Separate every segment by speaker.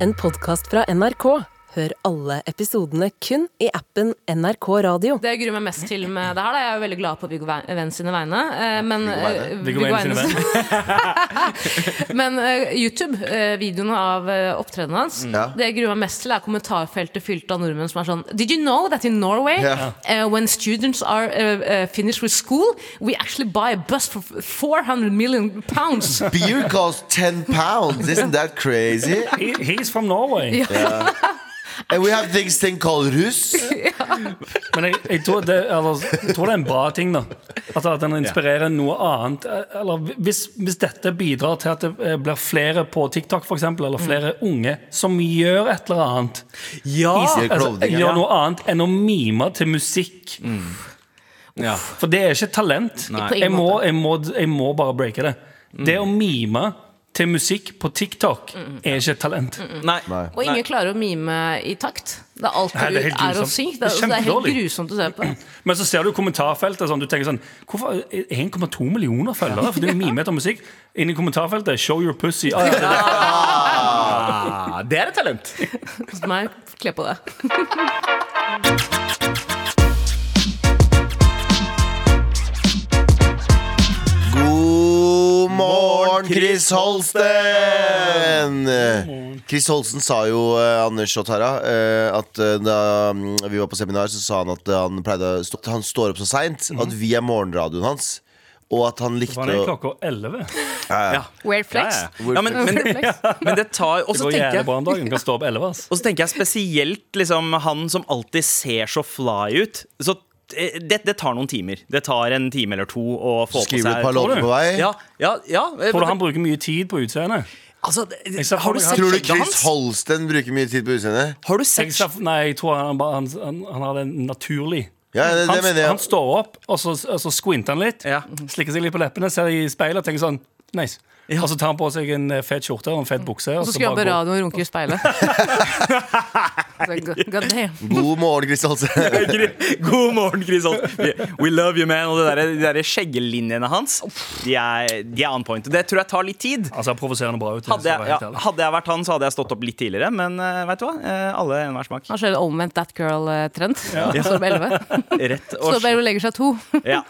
Speaker 1: en podkast fra NRK. Hør alle episodene kun i appen NRK Radio.
Speaker 2: Det jeg gruer meg mest til med det her, da. jeg er jo veldig glad på Viggo Ve- Venn sine vegne. eh, Men, eh,
Speaker 3: Viggo Venn sine
Speaker 2: Venn- men eh, YouTube, eh, videoen av eh, opptredenen hans,
Speaker 4: Ja.
Speaker 2: det jeg gruer meg mest til, er kommentarfeltet fylt av nordmenn som er sånn Did you know that in Norway,
Speaker 4: Ja.
Speaker 2: eh, when students are eh, eh, finished with school, we actually buy a bus for 400 million pounds?
Speaker 4: Beer costs 10 pounds. Isn't that crazy?
Speaker 3: He, he's from Norway.
Speaker 4: And we have things thing called russ.
Speaker 3: Men jeg, jeg, tror det, eller, jeg tror det er en bra ting, da. Altså, at den inspirerer noe annet. Eh, Eller, hvis, hvis dette bidrar til at det eh, blir flere på TikTok, for eksempel, eller flere unge som gjør et eller annet
Speaker 5: Ja!
Speaker 4: Easy.
Speaker 3: altså,
Speaker 4: Klovning, ja.
Speaker 3: Gjør noe annet enn å mime til musikk.
Speaker 5: ja.
Speaker 3: For det er ikke et talent.
Speaker 5: Nei.
Speaker 2: På
Speaker 3: Jeg
Speaker 2: ingen
Speaker 3: må, jeg, må, jeg må bare breake det. Det å mime til musikk på TikTok
Speaker 2: Mm.
Speaker 3: er ikke et talent.
Speaker 5: Nei.
Speaker 2: Og ingen klarer å mime i takt. Det er alt
Speaker 3: Nei,
Speaker 2: du
Speaker 3: det er
Speaker 2: er,
Speaker 3: helt
Speaker 2: å
Speaker 3: grusomt.
Speaker 2: si. Det
Speaker 3: Det
Speaker 2: er,
Speaker 3: er
Speaker 2: det er helt
Speaker 3: kjempedårlig.
Speaker 2: grusomt å se på.
Speaker 3: Men så ser du kommentarfeltet sånn, Du tenker sånn Hvorfor 1,2 millioner følgere? For du mimer etter musikk Inn i kommentarfeltet Show your pussy ah, ja, det-
Speaker 5: Ah, det er et talent!
Speaker 2: Hos meg, kle på det.
Speaker 4: God morgen, Chris Holsten! Chris Holsten sa jo, eh, Anders og Tara, eh, at eh, da mm, vi var på seminar, så sa han at eh, han pleide å stå, at han står opp så seint
Speaker 5: Mhm.
Speaker 4: at vi er morgenradioen hans. Og at han likte
Speaker 3: Var det
Speaker 4: å
Speaker 3: klokka 11?
Speaker 5: Ja.
Speaker 2: Weird
Speaker 5: Ja,
Speaker 2: flex.
Speaker 5: ja. ja men, men, men det tar Og
Speaker 3: Det
Speaker 5: så
Speaker 3: går
Speaker 5: tenker
Speaker 3: jævlig
Speaker 5: jeg
Speaker 3: bra en dag Hun kan stå opp 11 ass.
Speaker 5: Og så tenker jeg spesielt liksom, han som alltid ser så fly ut. Så eh, det, det tar noen timer. Det tar en time eller to å få på
Speaker 4: skrive
Speaker 5: seg
Speaker 4: et par låter på vei.
Speaker 5: Ja, ja, ja.
Speaker 3: Tror du han bruker mye tid på utseendet?
Speaker 5: altså, det-
Speaker 3: ser
Speaker 5: Har
Speaker 3: for meg-
Speaker 5: du sett
Speaker 4: Tror du
Speaker 5: skjegget
Speaker 4: Chris
Speaker 5: hans?
Speaker 4: Holsten bruker mye tid på utseendet?
Speaker 5: Har du
Speaker 3: Jeg
Speaker 5: sett
Speaker 3: ser- Nei, jeg tror han, bare, han, han, han har det naturlig
Speaker 4: Ja, det,
Speaker 3: han,
Speaker 4: det mener
Speaker 3: han
Speaker 4: jeg.
Speaker 3: står opp, og så, og så squinter han litt
Speaker 5: Ja.
Speaker 3: Slikker seg litt på leppene Ser i speilet og tenker sånn Nice Og så tar han på seg en eh, fet skjorte og en fet bukse
Speaker 2: Og så skal jeg på
Speaker 3: bare går-
Speaker 2: radioen og runke i speilet. Så god- god damn.
Speaker 4: God morgen, Chris Holsten.
Speaker 5: God morgen, Chris Holt. We love you, man. Og det der, de der skjeggelinjene hans, de er, de er on point. Det tror jeg tar litt tid.
Speaker 3: Han ser Altså, provoserende bra ut
Speaker 5: Hadde
Speaker 3: hvis jeg
Speaker 5: jeg,
Speaker 3: skal være
Speaker 5: ja,
Speaker 3: helt ærlig.
Speaker 5: hadde jeg vært han, så hadde jeg stått opp litt tidligere. Men eh, vet du hva? Eh, alle enhver smak.
Speaker 2: Han ser omvendt That Girl-trend. Står opp 11.
Speaker 5: Rett og
Speaker 2: Står opp 11 og legger seg to.
Speaker 5: Ja.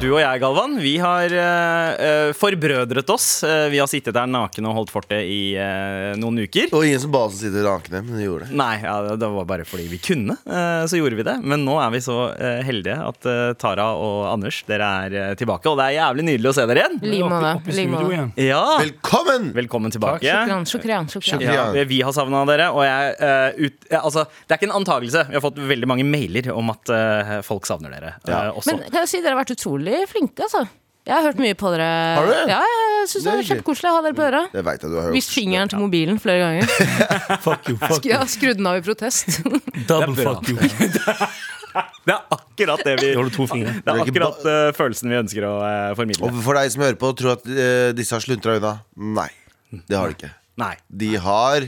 Speaker 5: Du og jeg, Galvan, vi har eh, eh, forbrødret oss. Eh, vi har sittet der nakne og holdt fortet i eh, noen uker.
Speaker 4: Og ingen som ba oss å sitte nakne, men de gjorde det.
Speaker 5: Nei, ja, det- det var bare fordi vi kunne, eh, så gjorde vi det. Men nå er vi så eh, heldige at eh, Tara og Anders, dere er eh, tilbake. Og det er jævlig nydelig å se dere igjen.
Speaker 2: I like måte.
Speaker 3: Opp i
Speaker 2: i like
Speaker 3: studio
Speaker 2: måte.
Speaker 3: igjen
Speaker 5: Ja,
Speaker 4: Velkommen!
Speaker 5: Velkommen tilbake.
Speaker 2: Sjokran, sjokran, sjokran.
Speaker 4: Sjokran.
Speaker 5: Ja, vi har savna dere, og jeg eh, ut, eh, Altså, det er ikke en antakelse. Vi har fått veldig mange mailer om at eh, folk savner dere eh,
Speaker 4: Ja.
Speaker 5: også.
Speaker 2: Men kan jeg si dere har vært utrolig flinke, altså. Jeg har hørt mye på dere.
Speaker 4: Har du det?
Speaker 2: Ja, jeg syns det var
Speaker 4: Det er hyggelig.
Speaker 2: kjempekoselig å ha dere på øra.
Speaker 4: Det vet jeg du har hørt.
Speaker 2: Vist fingeren til mobilen flere ganger.
Speaker 3: Fuck you, fuck
Speaker 2: Ja, skrudd den av i protest.
Speaker 3: you Double
Speaker 5: Det er bra.
Speaker 3: fuck you
Speaker 5: Det er akkurat det vi
Speaker 3: Jeg holder to fingre
Speaker 5: Det er
Speaker 4: Det er ikke
Speaker 5: akkurat eh, følelsen vi ønsker å eh, formidle.
Speaker 4: Og for deg som hører på og tror at eh, disse har sluntra unna. Nei, det har de ikke.
Speaker 5: Nei.
Speaker 4: De har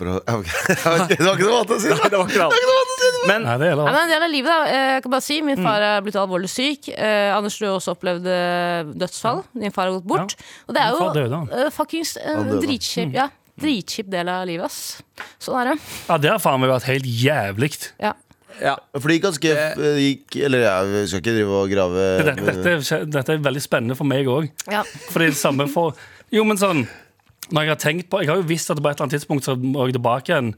Speaker 4: Bro, ok. Det var ikke noe måte å si
Speaker 5: Nei,
Speaker 4: det!
Speaker 5: det var ikke det. Men
Speaker 3: Nei, det er
Speaker 2: Ja,
Speaker 3: lov.
Speaker 2: men en del av livet, da. Eh, Jeg kan bare si,
Speaker 3: Mm.
Speaker 2: Min far er blitt alvorlig syk. Eh, Anders, du har også opplevd eh, dødsfall. Din far har gått bort. Og det er
Speaker 3: Min far døde,
Speaker 2: jo
Speaker 3: han. Mm.
Speaker 2: eh, fuckings eh,
Speaker 4: Han døde.
Speaker 2: dritkjip, ja, dritkjip del av livet, ass. Sånn er det.
Speaker 3: Ja, det har faen meg vært helt jævlig.
Speaker 2: Ja.
Speaker 5: ja.
Speaker 4: For de gikk ganske eh, gikk, Eller ja, vi skal ikke drive og grave
Speaker 3: Dette, dette, dette er veldig spennende for meg òg.
Speaker 2: Ja.
Speaker 3: For det er det samme for Jo, men sånn når Jeg har tenkt på, jeg har jo visst at på et eller annet tidspunkt så må jeg tilbake igjen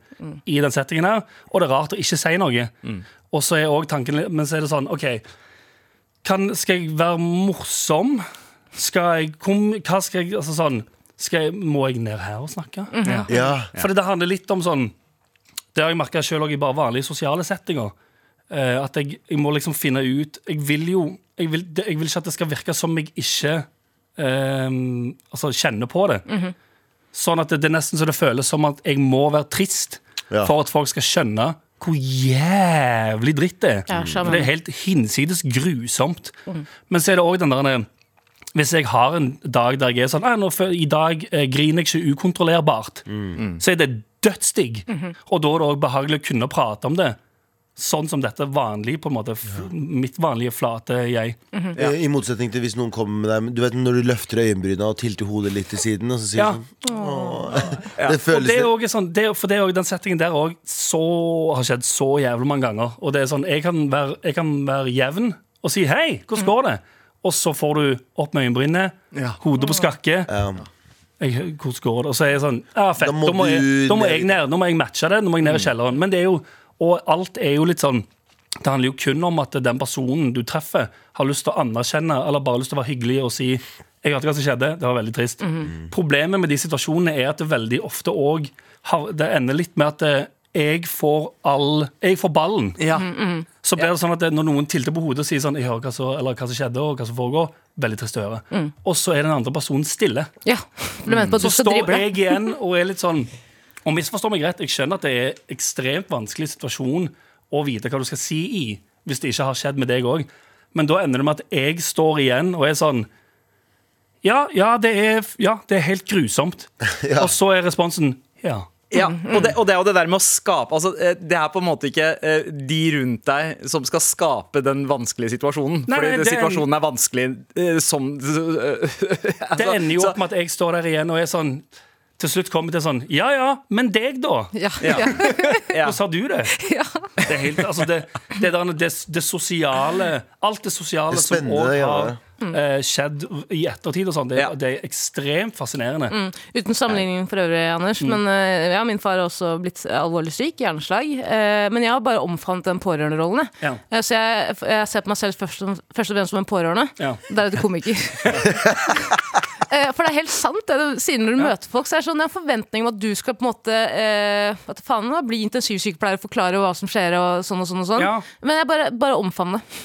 Speaker 3: i den settingen her. Og det er rart å ikke si noe. Og så er også tanken litt- Men så er det sånn, OK kan, Skal jeg være morsom? Skal jeg kom, Hva skal jeg Altså sånn skal jeg, Må jeg ned her og snakke?
Speaker 2: Mhm.
Speaker 3: Ja.
Speaker 4: Ja.
Speaker 3: Fordi det handler litt om sånn Det har jeg merka sjøl òg i bare vanlige sosiale settinger. eh, at jeg, jeg må liksom finne ut Jeg vil jo jeg vil, det- jeg vil ikke at det skal virke som jeg ikke eh, Altså kjenner på det.
Speaker 4: Mhm.
Speaker 3: Sånn at det, det er nesten så det føles som at jeg må være trist
Speaker 4: Ja.
Speaker 3: for at folk skal skjønne hvor jævlig dritt det er.
Speaker 2: Ja, skjønner.
Speaker 3: For Mm. det er helt hinsides grusomt. Men så er det òg den der eh, hvis jeg har en dag der jeg er sånn «Nei, nå, fø- I dag eh, griner jeg ikke ukontrollerbart, så er det dødsdigg. Og da er det òg behagelig å kunne prate om det sånn som dette vanlig, på en måte. F Mitt vanlige flate jeg.
Speaker 4: Eh, I motsetning til hvis noen kommer med deg Du vet når du løfter øyenbryna og tilter hodet litt til siden, og så sier
Speaker 3: Ja.
Speaker 4: du sånn Åh. Det
Speaker 3: Og
Speaker 4: føles
Speaker 3: det er
Speaker 4: litt
Speaker 3: også sånn, det, er- for det er også, den settingen der òg har skjedd så jævlig mange ganger. Og det er sånn, jeg kan være, jeg kan være jevn og si 'hei, hvordan går det?' Og så får du opp med øyenbrynene,
Speaker 5: Ja.
Speaker 3: hodet på skakke.
Speaker 4: Ja.
Speaker 3: Jeg, hvordan går det? Og så er jeg sånn Ja, fett.
Speaker 4: Da
Speaker 3: Da
Speaker 4: må
Speaker 3: må, jeg,
Speaker 4: du
Speaker 3: da må,
Speaker 4: ned- Mm.
Speaker 3: jeg, ned, nå må jeg matche det. Nå må jeg ned i kjelleren. Men det er jo Og alt er jo litt sånn det handler jo kun om at den personen du treffer, har lyst til å anerkjenne eller bare lyst til å være hyggelig og si 'Jeg hørte hva som skjedde. Det var veldig trist.' Problemet med de situasjonene er at det veldig ofte òg Det ender litt med at eh, jeg får all Jeg får ballen.
Speaker 5: Ja.
Speaker 3: Så blir det sånn at det, når noen tilter på hodet og sier sånn 'Jeg hører hva som, eller hva som skjedde, og hva som foregår', veldig trist å høre. Og så er den andre personen stille.
Speaker 2: Ja, ble ment på at
Speaker 3: Så
Speaker 2: du skal
Speaker 3: står
Speaker 2: drible.
Speaker 3: jeg igjen og er litt sånn Og misforstå meg rett, jeg skjønner at det er ekstremt vanskelig situasjon å vite hva du skal si i, hvis det ikke har skjedd med deg òg. Men da ender det med at jeg står igjen og er sånn Ja, ja, det er, ja, det er helt grusomt. Og så er responsen ja.
Speaker 5: Ja, og det, og det er jo det der med å skape altså, eh, Det er på en måte ikke eh, de rundt deg som skal skape den vanskelige situasjonen.
Speaker 3: Nei,
Speaker 5: fordi
Speaker 3: nei, det er-
Speaker 5: situasjonen er vanskelig eh, som altså,
Speaker 3: Det ender jo
Speaker 5: så-
Speaker 3: opp med at jeg står der igjen og er sånn Til slutt kommer det sånn Ja ja, men deg, da?
Speaker 2: Ja,
Speaker 5: Ja.
Speaker 2: ja.
Speaker 5: ja.
Speaker 3: Hvordan har du det? Det, er helt, altså det, det, der, det, det sosiale Alt det sosiale
Speaker 4: Det er
Speaker 3: som
Speaker 4: spennende,
Speaker 3: òg
Speaker 4: ja.
Speaker 3: har eh, skjedd i ettertid, og sånn, det,
Speaker 5: Ja.
Speaker 3: det er ekstremt fascinerende.
Speaker 2: Uten sammenligning for øvrig, Anders.
Speaker 3: Mm.
Speaker 2: Men eh, ja, min far har også blitt alvorlig syk, hjerneslag. Eh, men jeg har bare omfavnet den pårørenderollen. jeg.
Speaker 3: Ja.
Speaker 2: Eh, så jeg, jeg ser på meg selv først, som, først og fremst som en pårørende.
Speaker 3: Ja.
Speaker 2: Deretter komiker. Eh, For det er helt sant. Det er, siden når du møter folk, så er det sånn, det er en forventning om at du skal på en måte eh, At faen, da, bli intensivsykepleier og forklare hva som skjer. og sånn og sånn og sånn
Speaker 3: Ja.
Speaker 2: Men jeg bare, bare omfavne det.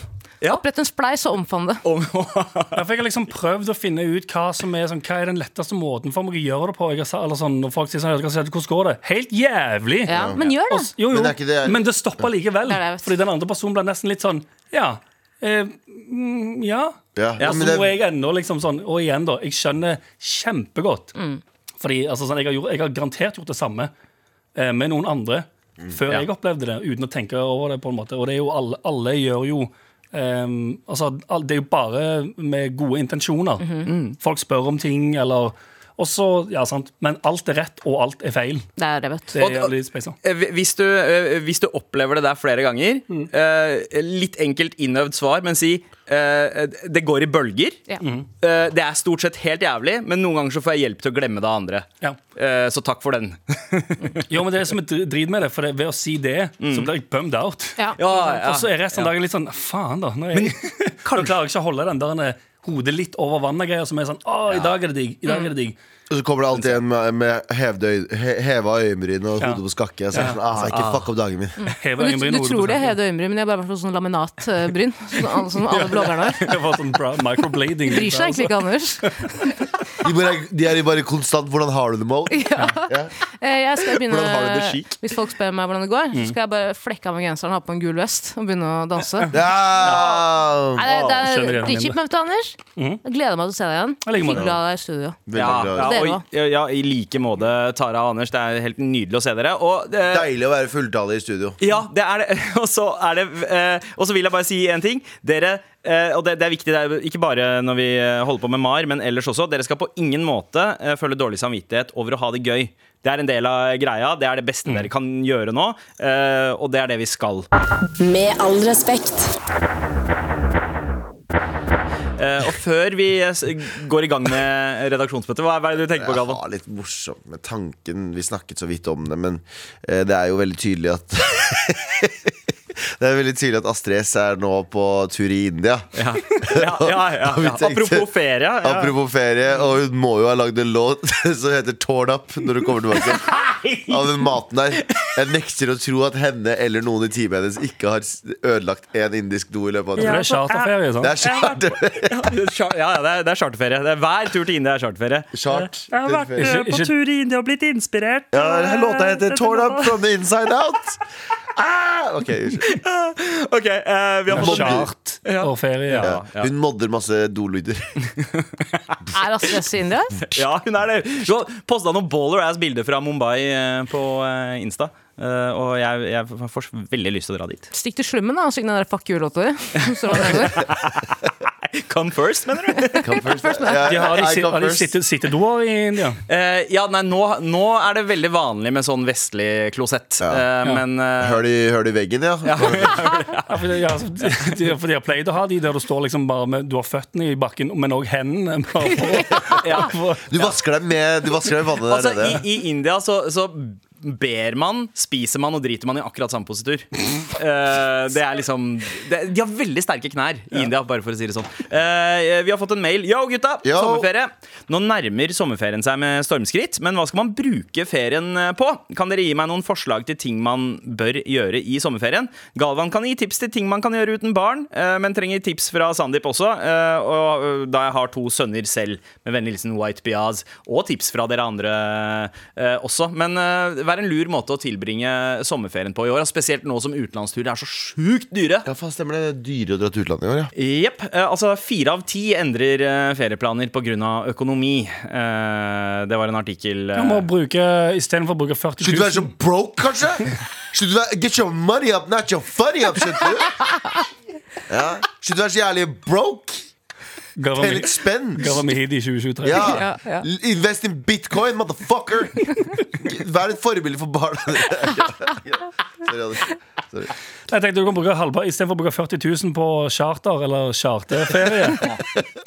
Speaker 5: Ja.
Speaker 2: Opprett en spleis og omfavne det.
Speaker 3: Ja, for jeg har liksom prøvd å finne ut hva som er sånn, Hva er den letteste måten for meg å gjøre det på. Jeg har, sa- eller sånn, når folk sier sånn, «Hva skjedde? hvordan går det? Helt jævlig!
Speaker 2: Ja. Men gjør det.
Speaker 3: Og s- jo, jo,
Speaker 4: Men
Speaker 3: men,
Speaker 4: det er ikke det-
Speaker 3: det stopper likevel.
Speaker 2: Det er det jeg vet.
Speaker 3: fordi den andre personen blir nesten litt sånn Ja. Eh, mm, ja.
Speaker 4: Ja,
Speaker 3: Ja,
Speaker 4: men
Speaker 3: så
Speaker 4: det-
Speaker 3: nå er jeg ennå liksom sånn Og igjen, da. Jeg skjønner kjempegodt.
Speaker 2: Mm.
Speaker 3: Fordi altså, sånn, jeg, har gjort, jeg har garantert gjort det samme eh, med noen andre
Speaker 4: Mm.
Speaker 3: før jeg opplevde det, uten å tenke over det. på en måte Og det er jo alle, alle gjør jo ehm, Altså, all- det er jo bare med gode intensjoner.
Speaker 2: Mhm.
Speaker 4: Mm.
Speaker 3: Folk spør om ting, eller Og så, ja, sant. Men alt er rett, og alt er feil.
Speaker 2: Det er det, vet du.
Speaker 3: Det
Speaker 5: Og-
Speaker 3: er jævlig speisa.
Speaker 5: Eh, Hvis du, eh, hvis du opplever det der flere ganger, eh, litt enkelt innøvd svar, men si eh, det går i bølger.
Speaker 2: Ja.
Speaker 3: Mm.
Speaker 5: Eh, Det er stort sett helt jævlig, men noen ganger så får jeg hjelp til å glemme det andre.
Speaker 3: Ja.
Speaker 5: Eh, Så takk for den.
Speaker 3: Jo, men det er som et drit med det, for det, ved å si det, så blir jeg bummed out.
Speaker 2: Ja.
Speaker 5: Ja,
Speaker 3: Og så er resten av dagen litt sånn Faen, da. Nå, er jeg, nå klarer jeg ikke å holde den der eh, hodet litt over vannet-greia som er sånn Å, i dag er det digg. I dag er
Speaker 2: Mm.
Speaker 3: det digg.
Speaker 4: Og så kommer det alltid en med, med hevde øy- he- heva øyenbryn og
Speaker 3: Ja.
Speaker 4: hodet på skakke. Så er jeg
Speaker 3: Ja. Mm.
Speaker 4: sånn, ah, ikke fuck opp dagen min.
Speaker 3: Heve
Speaker 2: Men Du,
Speaker 3: øyenbryn,
Speaker 2: du
Speaker 3: hodet på
Speaker 2: tror det er
Speaker 3: siden.
Speaker 2: hede øyenbryn, men jeg har bare vært på sånn laminatbryn. Som alle, som alle bloggerne har.
Speaker 3: Det var sånn bra microblading.
Speaker 2: Bryr seg egentlig ikke, Anders.
Speaker 4: De, bare, de er i bare konstant 'hvordan har du det, Mo?'
Speaker 2: Eh, Jeg skal begynne,
Speaker 4: Hvordan har du det chic? Mm.
Speaker 2: hvis folk spør meg hvordan det går, så skal jeg bare flekke av meg genseren, ha på en gul vest og begynne å danse.
Speaker 4: Ja!
Speaker 2: Nei, det, det
Speaker 3: Å, skjønner
Speaker 2: er
Speaker 3: jeg
Speaker 2: dritkjipt, men vet du, Anders.
Speaker 4: Mm.
Speaker 2: Jeg gleder meg til å se deg igjen.
Speaker 3: I like måte.
Speaker 2: Hyggelig å ha deg i studio.
Speaker 4: Veldig
Speaker 5: ja,
Speaker 4: bra.
Speaker 5: ja,
Speaker 2: Dere
Speaker 5: og, ja, I like måte, Tara og Anders. Det er helt nydelig å se dere. Og, eh,
Speaker 4: Deilig å være fulltallig i studio.
Speaker 5: Ja, det er det. Og så er det eh, Og så vil jeg bare si en ting. Dere, eh, og det, det er viktig, det er ikke bare når vi eh, holder på med MAR, men ellers også. Dere skal på ingen måte eh, føle dårlig samvittighet over å ha det gøy. Det er en del av greia. Det er det beste dere kan gjøre nå, eh, og det er det vi skal.
Speaker 1: Med all respekt.
Speaker 5: Eh, Og før vi eh, s- går i gang med redaksjonsmøtet, hva er hva er det du tenker på,
Speaker 4: Jeg
Speaker 5: Galvan?
Speaker 4: har litt morsomt med tanken Vi snakket så vidt om det, men eh, det er jo veldig tydelig at Det er veldig tydelig at Astrid S er nå på tur i India.
Speaker 5: Ja, ja, ja, ja,
Speaker 4: vi
Speaker 5: ja.
Speaker 4: tenkte-
Speaker 5: Apropos ferie. Ja.
Speaker 4: Apropos ferie, og hun må jo ha lagd en låt som heter 'Torn Up' når hun kommer tilbake. Av den maten der. Jeg nekter å tro at henne eller noen i teamet hennes ikke har s- ødelagt én indisk do i løpet av
Speaker 3: Det
Speaker 4: turen.
Speaker 3: er charterferie, sånn.
Speaker 4: Det er charter.
Speaker 5: Ja, det er, det er charterferie. Det er hver tur til India er charterferie.
Speaker 4: Chart.
Speaker 3: eh,
Speaker 4: Ja,
Speaker 3: på Ikke-
Speaker 5: tur i India og blitt inspirert. eh,
Speaker 4: den låta heter 'Torn Up from the Inside Out'. Ah! Ok, unnskyld.
Speaker 5: Ok, eh, vi har
Speaker 4: Bob
Speaker 5: fått
Speaker 4: Dylan.
Speaker 3: Chart. og ferie.
Speaker 5: Ja.
Speaker 4: Hun modder masse do-lyder.
Speaker 2: altså, Er Astrid S i India?
Speaker 5: Ja, hun er det. Hun posta noen baller ass bilder fra Mumbai eh, på eh, Insta. Eh, og jeg, jeg får veldig lyst til å dra dit.
Speaker 2: Stikk til slummen da og syng den der fuck you-låta di. Så var det over.
Speaker 5: Come first, mener du?
Speaker 4: Come first. Ja,
Speaker 3: De har,
Speaker 4: I
Speaker 3: de, sit-
Speaker 4: come
Speaker 3: har de
Speaker 4: first.
Speaker 3: sitte- sittedoer i India?
Speaker 5: Eh, ja, nei, nå, nå er det veldig vanlig med sånn vestlig klosett.
Speaker 4: Ja.
Speaker 5: Eh, men eh,
Speaker 4: Hør de, hør de veggen, ja?
Speaker 3: Ja, for, de, ja, altså, de, de, for de har pleid å ha de der du står liksom bare med Du har føttene i bakken, men òg hendene. Bare på,
Speaker 5: Ja.
Speaker 3: på,
Speaker 4: Du vasker deg med, du vasker deg med vannet
Speaker 5: altså,
Speaker 4: der nede.
Speaker 5: i, i India så, så ber man, spiser man og driter man i akkurat samme positur. Eh, det er liksom det, De har veldig sterke knær i India, bare for å si det sånn. Eh, vi har fått en mail. Yo, gutta!
Speaker 4: Yo.
Speaker 5: Sommerferie. Nå nærmer sommerferien seg med stormskritt, men hva skal man bruke ferien eh, på? Kan dere gi meg noen forslag til ting man bør gjøre i sommerferien? Galvan kan gi tips til ting man kan gjøre uten barn, eh, men trenger tips fra Sandeep også. eh, Og eh, da jeg har to sønner selv, med vennlig hilsen White Biaz, og tips fra dere andre eh, også. Men eh, vær en lur måte å tilbringe sommerferien på i år, og spesielt nå som utenlandsturer er så sjukt dyre.
Speaker 4: Ja, faen stemmer det. Det er dyrere å dra til utlandet i år, ja.
Speaker 5: Jepp. eh, Altså, fire av ti endrer eh, ferieplaner pga. økonomi. Eh, det var en artikkel eh,
Speaker 3: du må bruke Istedenfor å bruke 40
Speaker 4: Slutt å være så
Speaker 3: 000
Speaker 4: broke, kanskje? Slutt å være Get your money up, not your funny up, skjønte du? Ja. Slutt å være så jævlig broke.
Speaker 3: Garam-
Speaker 4: Pay litt spenn.
Speaker 3: Garam i Hidi i 2023.
Speaker 4: Ja.
Speaker 2: Ja, ja.
Speaker 4: L- Invest in bitcoin, motherfucker! Vær et forbilde for barna dine. Sorry, Anders. Sorry.
Speaker 3: Jeg tenkte du kan bruke halvpar Istedenfor å bruke 40 000 på charter eller charterferie,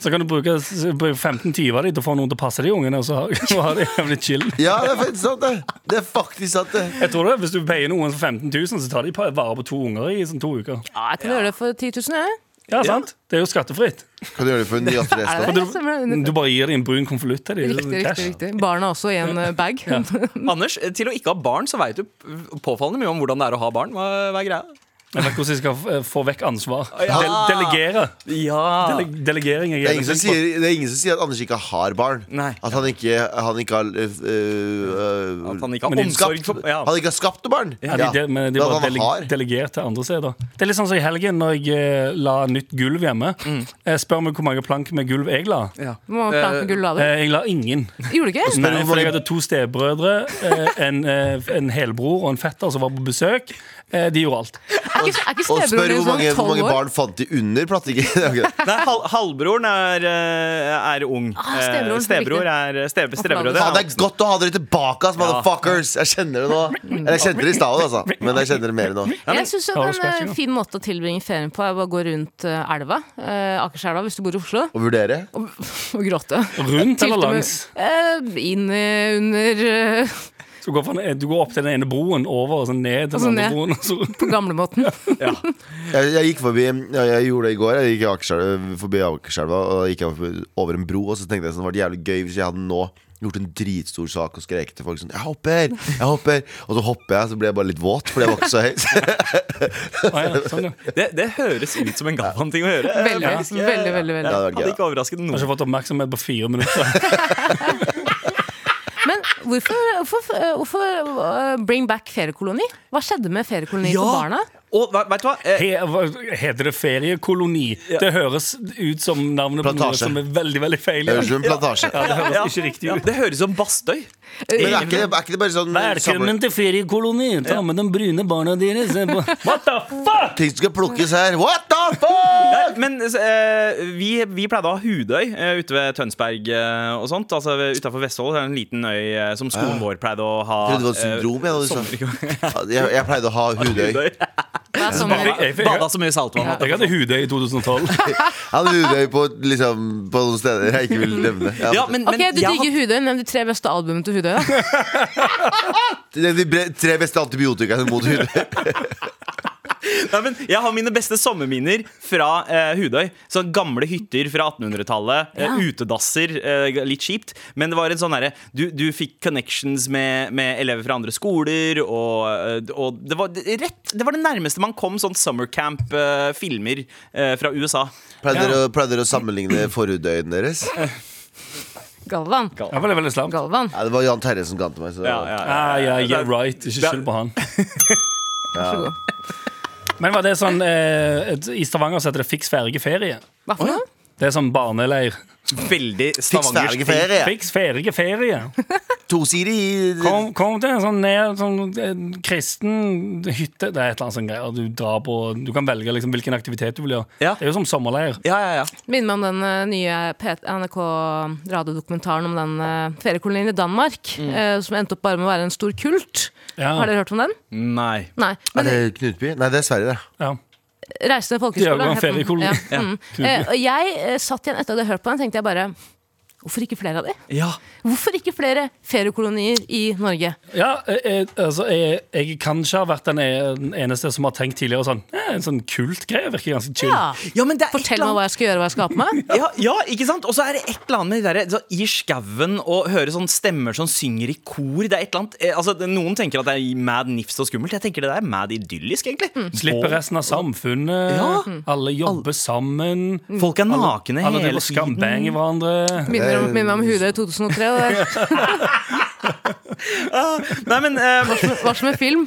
Speaker 3: så kan du bruke s- bruke 15-20 av de til å få noen til å passe de ungene. Og så ha- og ha det jævlig chill
Speaker 4: Ja, det er faktisk sant, det. Det er faktisk sant, det.
Speaker 3: Jeg tror det, Hvis du payer noen for 15 000, så tar de pa- vare på to unger i sånn to uker.
Speaker 2: Ja, jeg kan gjøre det for 10 000, jeg.
Speaker 3: Ja, sant? Det er jo skattefritt.
Speaker 4: Kan du gjøre det for en ny Astrid
Speaker 2: Er
Speaker 4: S?
Speaker 2: det det? Stemmer det?
Speaker 3: Du bare gir dem en brun konvolutt til dem.
Speaker 2: Riktig, riktig, riktig. Barna også i en eh, bag.
Speaker 5: Anders, eh, til å ikke ha barn, så veit du p- påfallende mye om hvordan det er å ha barn. Hva, hva er greia?
Speaker 3: Jeg vet hvordan jeg skal eh, få vekk ansvar.
Speaker 5: Ja.
Speaker 3: Del delegere.
Speaker 5: Ja
Speaker 3: Dele delegering er
Speaker 4: Det er,
Speaker 3: jævlig
Speaker 4: ingen som
Speaker 3: flink på.
Speaker 4: sier, det er ingen som sier at Anders ikke har barn.
Speaker 5: Nei.
Speaker 4: At han ikke, han ikke har øh, øh,
Speaker 5: At han ikke
Speaker 3: Men
Speaker 5: har
Speaker 3: de
Speaker 5: omsorg for ja.
Speaker 4: Han ikke har skapt noe barn.
Speaker 3: Ja, de, de, men de
Speaker 4: Men at
Speaker 3: var
Speaker 4: han
Speaker 3: dele
Speaker 4: har.
Speaker 3: delegert til andre steder. Det er litt sånn som i helgen, når jeg eh, la nytt gulv hjemme. Jeg spør meg hvor mange plank med gulv jeg la.
Speaker 5: Ja.
Speaker 2: Må man planke med gull
Speaker 3: Eh,
Speaker 2: lader.
Speaker 3: Jeg la ingen.
Speaker 4: eh,
Speaker 2: Gjorde du ikke?
Speaker 3: Nei,
Speaker 4: hvor
Speaker 3: for
Speaker 4: mange-
Speaker 3: jeg hadde to stebrødre, eh, en, eh, en helbror og en fetter som var på besøk. Eh, De gjorde alt.
Speaker 2: Er ikke, er ikke
Speaker 4: Og spør
Speaker 2: stebroren din
Speaker 4: hvor mange,
Speaker 2: sånn 12
Speaker 4: hvor mange
Speaker 2: år?
Speaker 4: barn fant de under plattingen.
Speaker 5: Nei, hal halvbroren er, eh, er ung.
Speaker 2: Ah, stebroren,
Speaker 5: Eh, Stebror er ste stebrødre.
Speaker 4: Faen, det er godt å ha dere tilbake, ass, motherfuckers! Jeg kjenner det nå. Eller jeg kjente det i stad, altså. Men jeg kjenner det mer nå.
Speaker 2: Jeg syns en
Speaker 3: Ja, det skal jeg
Speaker 2: eh,
Speaker 3: si, ja.
Speaker 2: fin måte å tilbringe ferien på er bare å gå rundt eh, elva. eh, Akerselva, hvis du bor i Oslo.
Speaker 4: Å vurdere?
Speaker 2: Og gråte.
Speaker 3: Rundt
Speaker 2: Tilte
Speaker 3: eller
Speaker 2: med-
Speaker 3: langs?
Speaker 2: Eh, inn eh, under eh,
Speaker 3: Så går fra- Du går opp til den ene broen, over og så ned til
Speaker 2: Og så
Speaker 3: den andre
Speaker 2: ned.
Speaker 3: broen. Og så
Speaker 2: på gamlemåten.
Speaker 4: Jeg, jeg gikk forbi ja, Jeg gjorde det i går. Jeg gikk i Akerselva, forbi Akerselva og da gikk jeg forbi- over en bro. Og så tenkte jeg sånn, det var jævlig gøy hvis jeg hadde nå gjort en dritstor sak og skreket til folk sånn 'Jeg hopper! Jeg hopper!' Og så hopper jeg, så ble jeg bare litt våt, fordi jeg var ikke så høy.
Speaker 3: Ah, ja, sånn, ja. Jeg
Speaker 5: Det, det høres ut som en Galvan-ting å høre.
Speaker 2: Veldig, veldig, veldig, veldig.
Speaker 4: Ja, det var
Speaker 5: Hadde
Speaker 4: gøy.
Speaker 5: ikke overrasket
Speaker 3: har
Speaker 5: noen.
Speaker 3: ikke fått oppmerksomhet på fire minutter.
Speaker 2: Men hvorfor, hvorfor, eh, hvorfor eh, bring back feriekoloni? Hva skjedde med feriekoloni for barna?
Speaker 5: Og ve- vet du hva? Eh,
Speaker 3: He, hva- heter det feriekoloni? Det høres ut som navnet på noe
Speaker 4: Plantasje.
Speaker 3: som er veldig veldig feil.
Speaker 4: Det
Speaker 3: Ja.
Speaker 4: høres ut som en plantasje.
Speaker 3: Ja, det høres
Speaker 5: ja,
Speaker 3: ikke riktig
Speaker 5: ja,
Speaker 3: ut.
Speaker 5: det høres ut som Bastøy.
Speaker 4: Men er ikke, det- er ikke det bare sånn samler-
Speaker 3: til feriekoloni. Ta med de brune barna deres. What the fuck?
Speaker 4: Ting som skal plukkes her. What the fuck?!
Speaker 5: Nei, men eh, vi, vi pleide å ha Hudøy eh, ute ved Tønsberg eh, og sånt. Altså ved- Utenfor Vestfold er det en liten øy eh, som skolen vår pleide å ha.
Speaker 4: Ah. Jeg trodde det var et
Speaker 5: eh,
Speaker 4: syndrom. Jeg, da du sa.
Speaker 5: sommer-
Speaker 4: jeg, jeg pleide å ha hudøy.
Speaker 5: Hudøy.
Speaker 2: Det er sånn,
Speaker 3: Jeg, jeg, jeg,
Speaker 5: Bada så mye saltvann. at det-
Speaker 3: jeg hadde hudøy i 2012.
Speaker 4: Jeg hadde hudøy på, liksom, på noen steder jeg ikke vil nevne. Jeg hadde-
Speaker 5: Ja, men, men
Speaker 2: ok, du
Speaker 5: jeg
Speaker 2: digger Hudøy. Nevn de tre beste albumene til Hudøy. da.
Speaker 4: Det er De bre- tre beste antibiotikaene mot hudøy.
Speaker 5: Nei, men jeg har mine beste sommerminner fra eh, Hudøy. Sånn gamle hytter fra 1800-tallet. eh, utedasser. eh, litt kjipt. Men det var en sånn derre du, du fikk connections med, med elever fra andre skoler, og, eh, og det, var rett, det var det nærmeste man kom sånn summercamp-filmer eh, fra USA.
Speaker 4: Pleide dere å- pleide dere å sammenligne forhudøyene deres?
Speaker 2: Galvan.
Speaker 3: Jeg var veldig slapp.
Speaker 2: Galvan.
Speaker 4: Ja, det var Jan Terje som ga den til meg. Så.
Speaker 5: Ja, ja, ja.
Speaker 3: Ah, ja, yeah, right. Ikke skyld på han.
Speaker 2: Vær så god.
Speaker 3: Men var det sånn eh, et- I Stavanger så heter det 'fiks ferdig ferie'.
Speaker 2: Hva for noe?
Speaker 3: Det er sånn barneleir.
Speaker 5: Veldig
Speaker 4: Fiks
Speaker 5: stavangersk.
Speaker 4: ferdig ferie.
Speaker 3: Fiks ferdig ferie.
Speaker 4: Tosidig
Speaker 3: Kom, kom til en sånn, ned, sånn eh, kristen hytte. Det er et eller annet sånn greier du drar på. Du kan velge liksom, hvilken aktivitet du vil gjøre.
Speaker 5: Ja.
Speaker 3: Det er jo som sommerleir.
Speaker 5: Ja, ja, ja.
Speaker 2: Minner meg om den eh, nye NRK-radiodokumentaren om den eh, feriekolonien i Danmark. eh, som endte opp bare med å være en stor kult.
Speaker 3: Ja.
Speaker 2: Har dere hørt om den?
Speaker 5: Nei.
Speaker 2: Nei.
Speaker 4: Er
Speaker 2: Men
Speaker 4: det Knutby? Nei, det er Sverige, det.
Speaker 3: Ja.
Speaker 2: Reisende folkehøyskole.
Speaker 3: Diagon
Speaker 2: het den.
Speaker 3: feriekoloni.
Speaker 2: Ja. Mm. Eh, og jeg eh, satt igjen etter at jeg hadde hørt på den, tenkte jeg bare Hvorfor ikke flere av de?
Speaker 5: Ja.
Speaker 2: Hvorfor ikke flere feriekolonier i Norge?
Speaker 3: Ja, jeg, jeg- altså, jeg, jeg kan ikke ha vært den e- den eneste som har tenkt tidligere sånn eh, En sånn kultgreie virker ganske chill.
Speaker 2: Ja.
Speaker 5: Ja, men det er et
Speaker 2: Fortell
Speaker 5: eller
Speaker 2: meg
Speaker 5: annet
Speaker 2: hva jeg skal gjøre, hva jeg skal ha på meg.
Speaker 5: ja, ja, ikke sant? Og så er det et eller annet med de der, så i skauen og høre sånn stemmer som synger i kor. Det er et eller annet, eh, altså, det- Noen tenker at det er mad nifst og skummelt. Jeg tenker det der er mad idyllisk, egentlig.
Speaker 3: Mm. Slipper resten av samfunnet.
Speaker 5: Ja.
Speaker 3: Alle jobber sammen.
Speaker 5: Folk er nakne
Speaker 3: Alle driver
Speaker 5: hele
Speaker 3: og
Speaker 5: tiden.
Speaker 3: skambanger hverandre.
Speaker 2: Minner om, minner om Hudet i 2003. og Det er-
Speaker 5: Ah, Nei, men, eh,
Speaker 2: var som en film.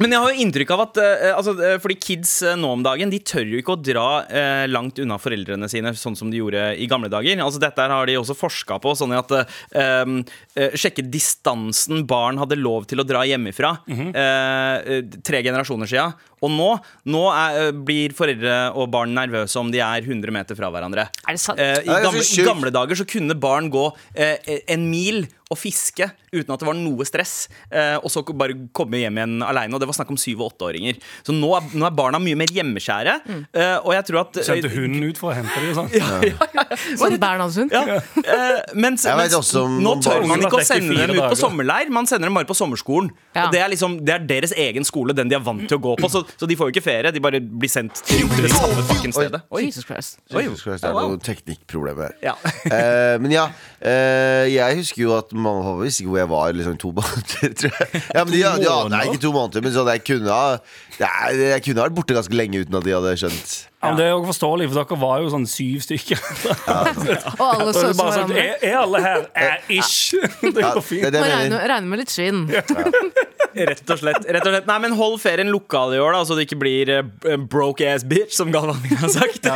Speaker 5: men jeg har jo inntrykk av at eh, altså, eh, Fordi kids eh, nå om dagen De tør jo ikke å dra eh, langt unna foreldrene sine, sånn som de gjorde i gamle dager. Altså Dette her har de også forska på, sånn at eh, eh, Sjekke distansen barn hadde lov til å dra hjemmefra. eh, eh, tre generasjoner sia. Og nå, nå er, eh, blir foreldre og barn nervøse om de er 100 meter fra hverandre.
Speaker 2: Er det sant?
Speaker 5: Eh,
Speaker 4: Det er
Speaker 5: I gamle,
Speaker 4: ganske
Speaker 5: i
Speaker 4: sjukt.
Speaker 5: gamle dager så kunne barn gå eh, en mil og fiske uten at det var noe stress, eh, og så bare komme hjem igjen aleine. Og det var snakk om syv- og åtteåringer. Så nå er, nå er barna mye mer hjemmeskjære. Eh, og jeg tror at
Speaker 3: Sendte hunden ut for å hente dem. Sånn.
Speaker 2: Sånn Bernhardshund.
Speaker 5: ja, eh, mens,
Speaker 4: Jeg vet
Speaker 5: mens
Speaker 4: også om-
Speaker 5: nå
Speaker 4: om
Speaker 5: tør
Speaker 4: barn
Speaker 5: man
Speaker 3: som
Speaker 5: ikke
Speaker 3: har
Speaker 5: å
Speaker 3: dekk
Speaker 5: sende
Speaker 3: i fire
Speaker 5: dem ut på
Speaker 3: dager.
Speaker 5: sommerleir, man sender dem bare på sommerskolen.
Speaker 2: Ja.
Speaker 5: Og det er, liksom, det er deres egen skole, den de er vant til å gå på. Så, så de får jo ikke ferie, de bare blir sendt til det samme fuckings stedet. Oi.
Speaker 2: Jesus Christ.
Speaker 5: Oi.
Speaker 4: Jesus Christ, Det er
Speaker 5: Ja, wow.
Speaker 4: noe teknikkproblem her.
Speaker 5: Ja.
Speaker 4: Eh, men ja, eh, jeg husker jo at mamma og pappa visste ikke hvor jeg var liksom, i to måneder. Tror jeg. Ja, men de, de, de, nei, ikke to måneder, men sånn, jeg, kunne ha, nei, jeg kunne ha vært borte ganske lenge uten at de hadde skjønt.
Speaker 3: Ja, men det er jo forståelig, for dere var jo sånn syv stykker.
Speaker 2: Og alle
Speaker 3: Og det
Speaker 2: så
Speaker 3: er
Speaker 2: som
Speaker 3: bare sånn,
Speaker 2: hverandre.
Speaker 3: er, er alle her? Eh, ikke. Det
Speaker 4: Ja, det
Speaker 3: går
Speaker 4: er
Speaker 3: fint.
Speaker 4: det
Speaker 2: Må
Speaker 4: jeg
Speaker 2: regne,
Speaker 4: mener.
Speaker 2: regne med litt skinn.
Speaker 5: Rett og slett. rett og slett Nei, men Hold ferien lokal i år, da så det ikke blir eh, broke ass bitch, som Galvan har sagt.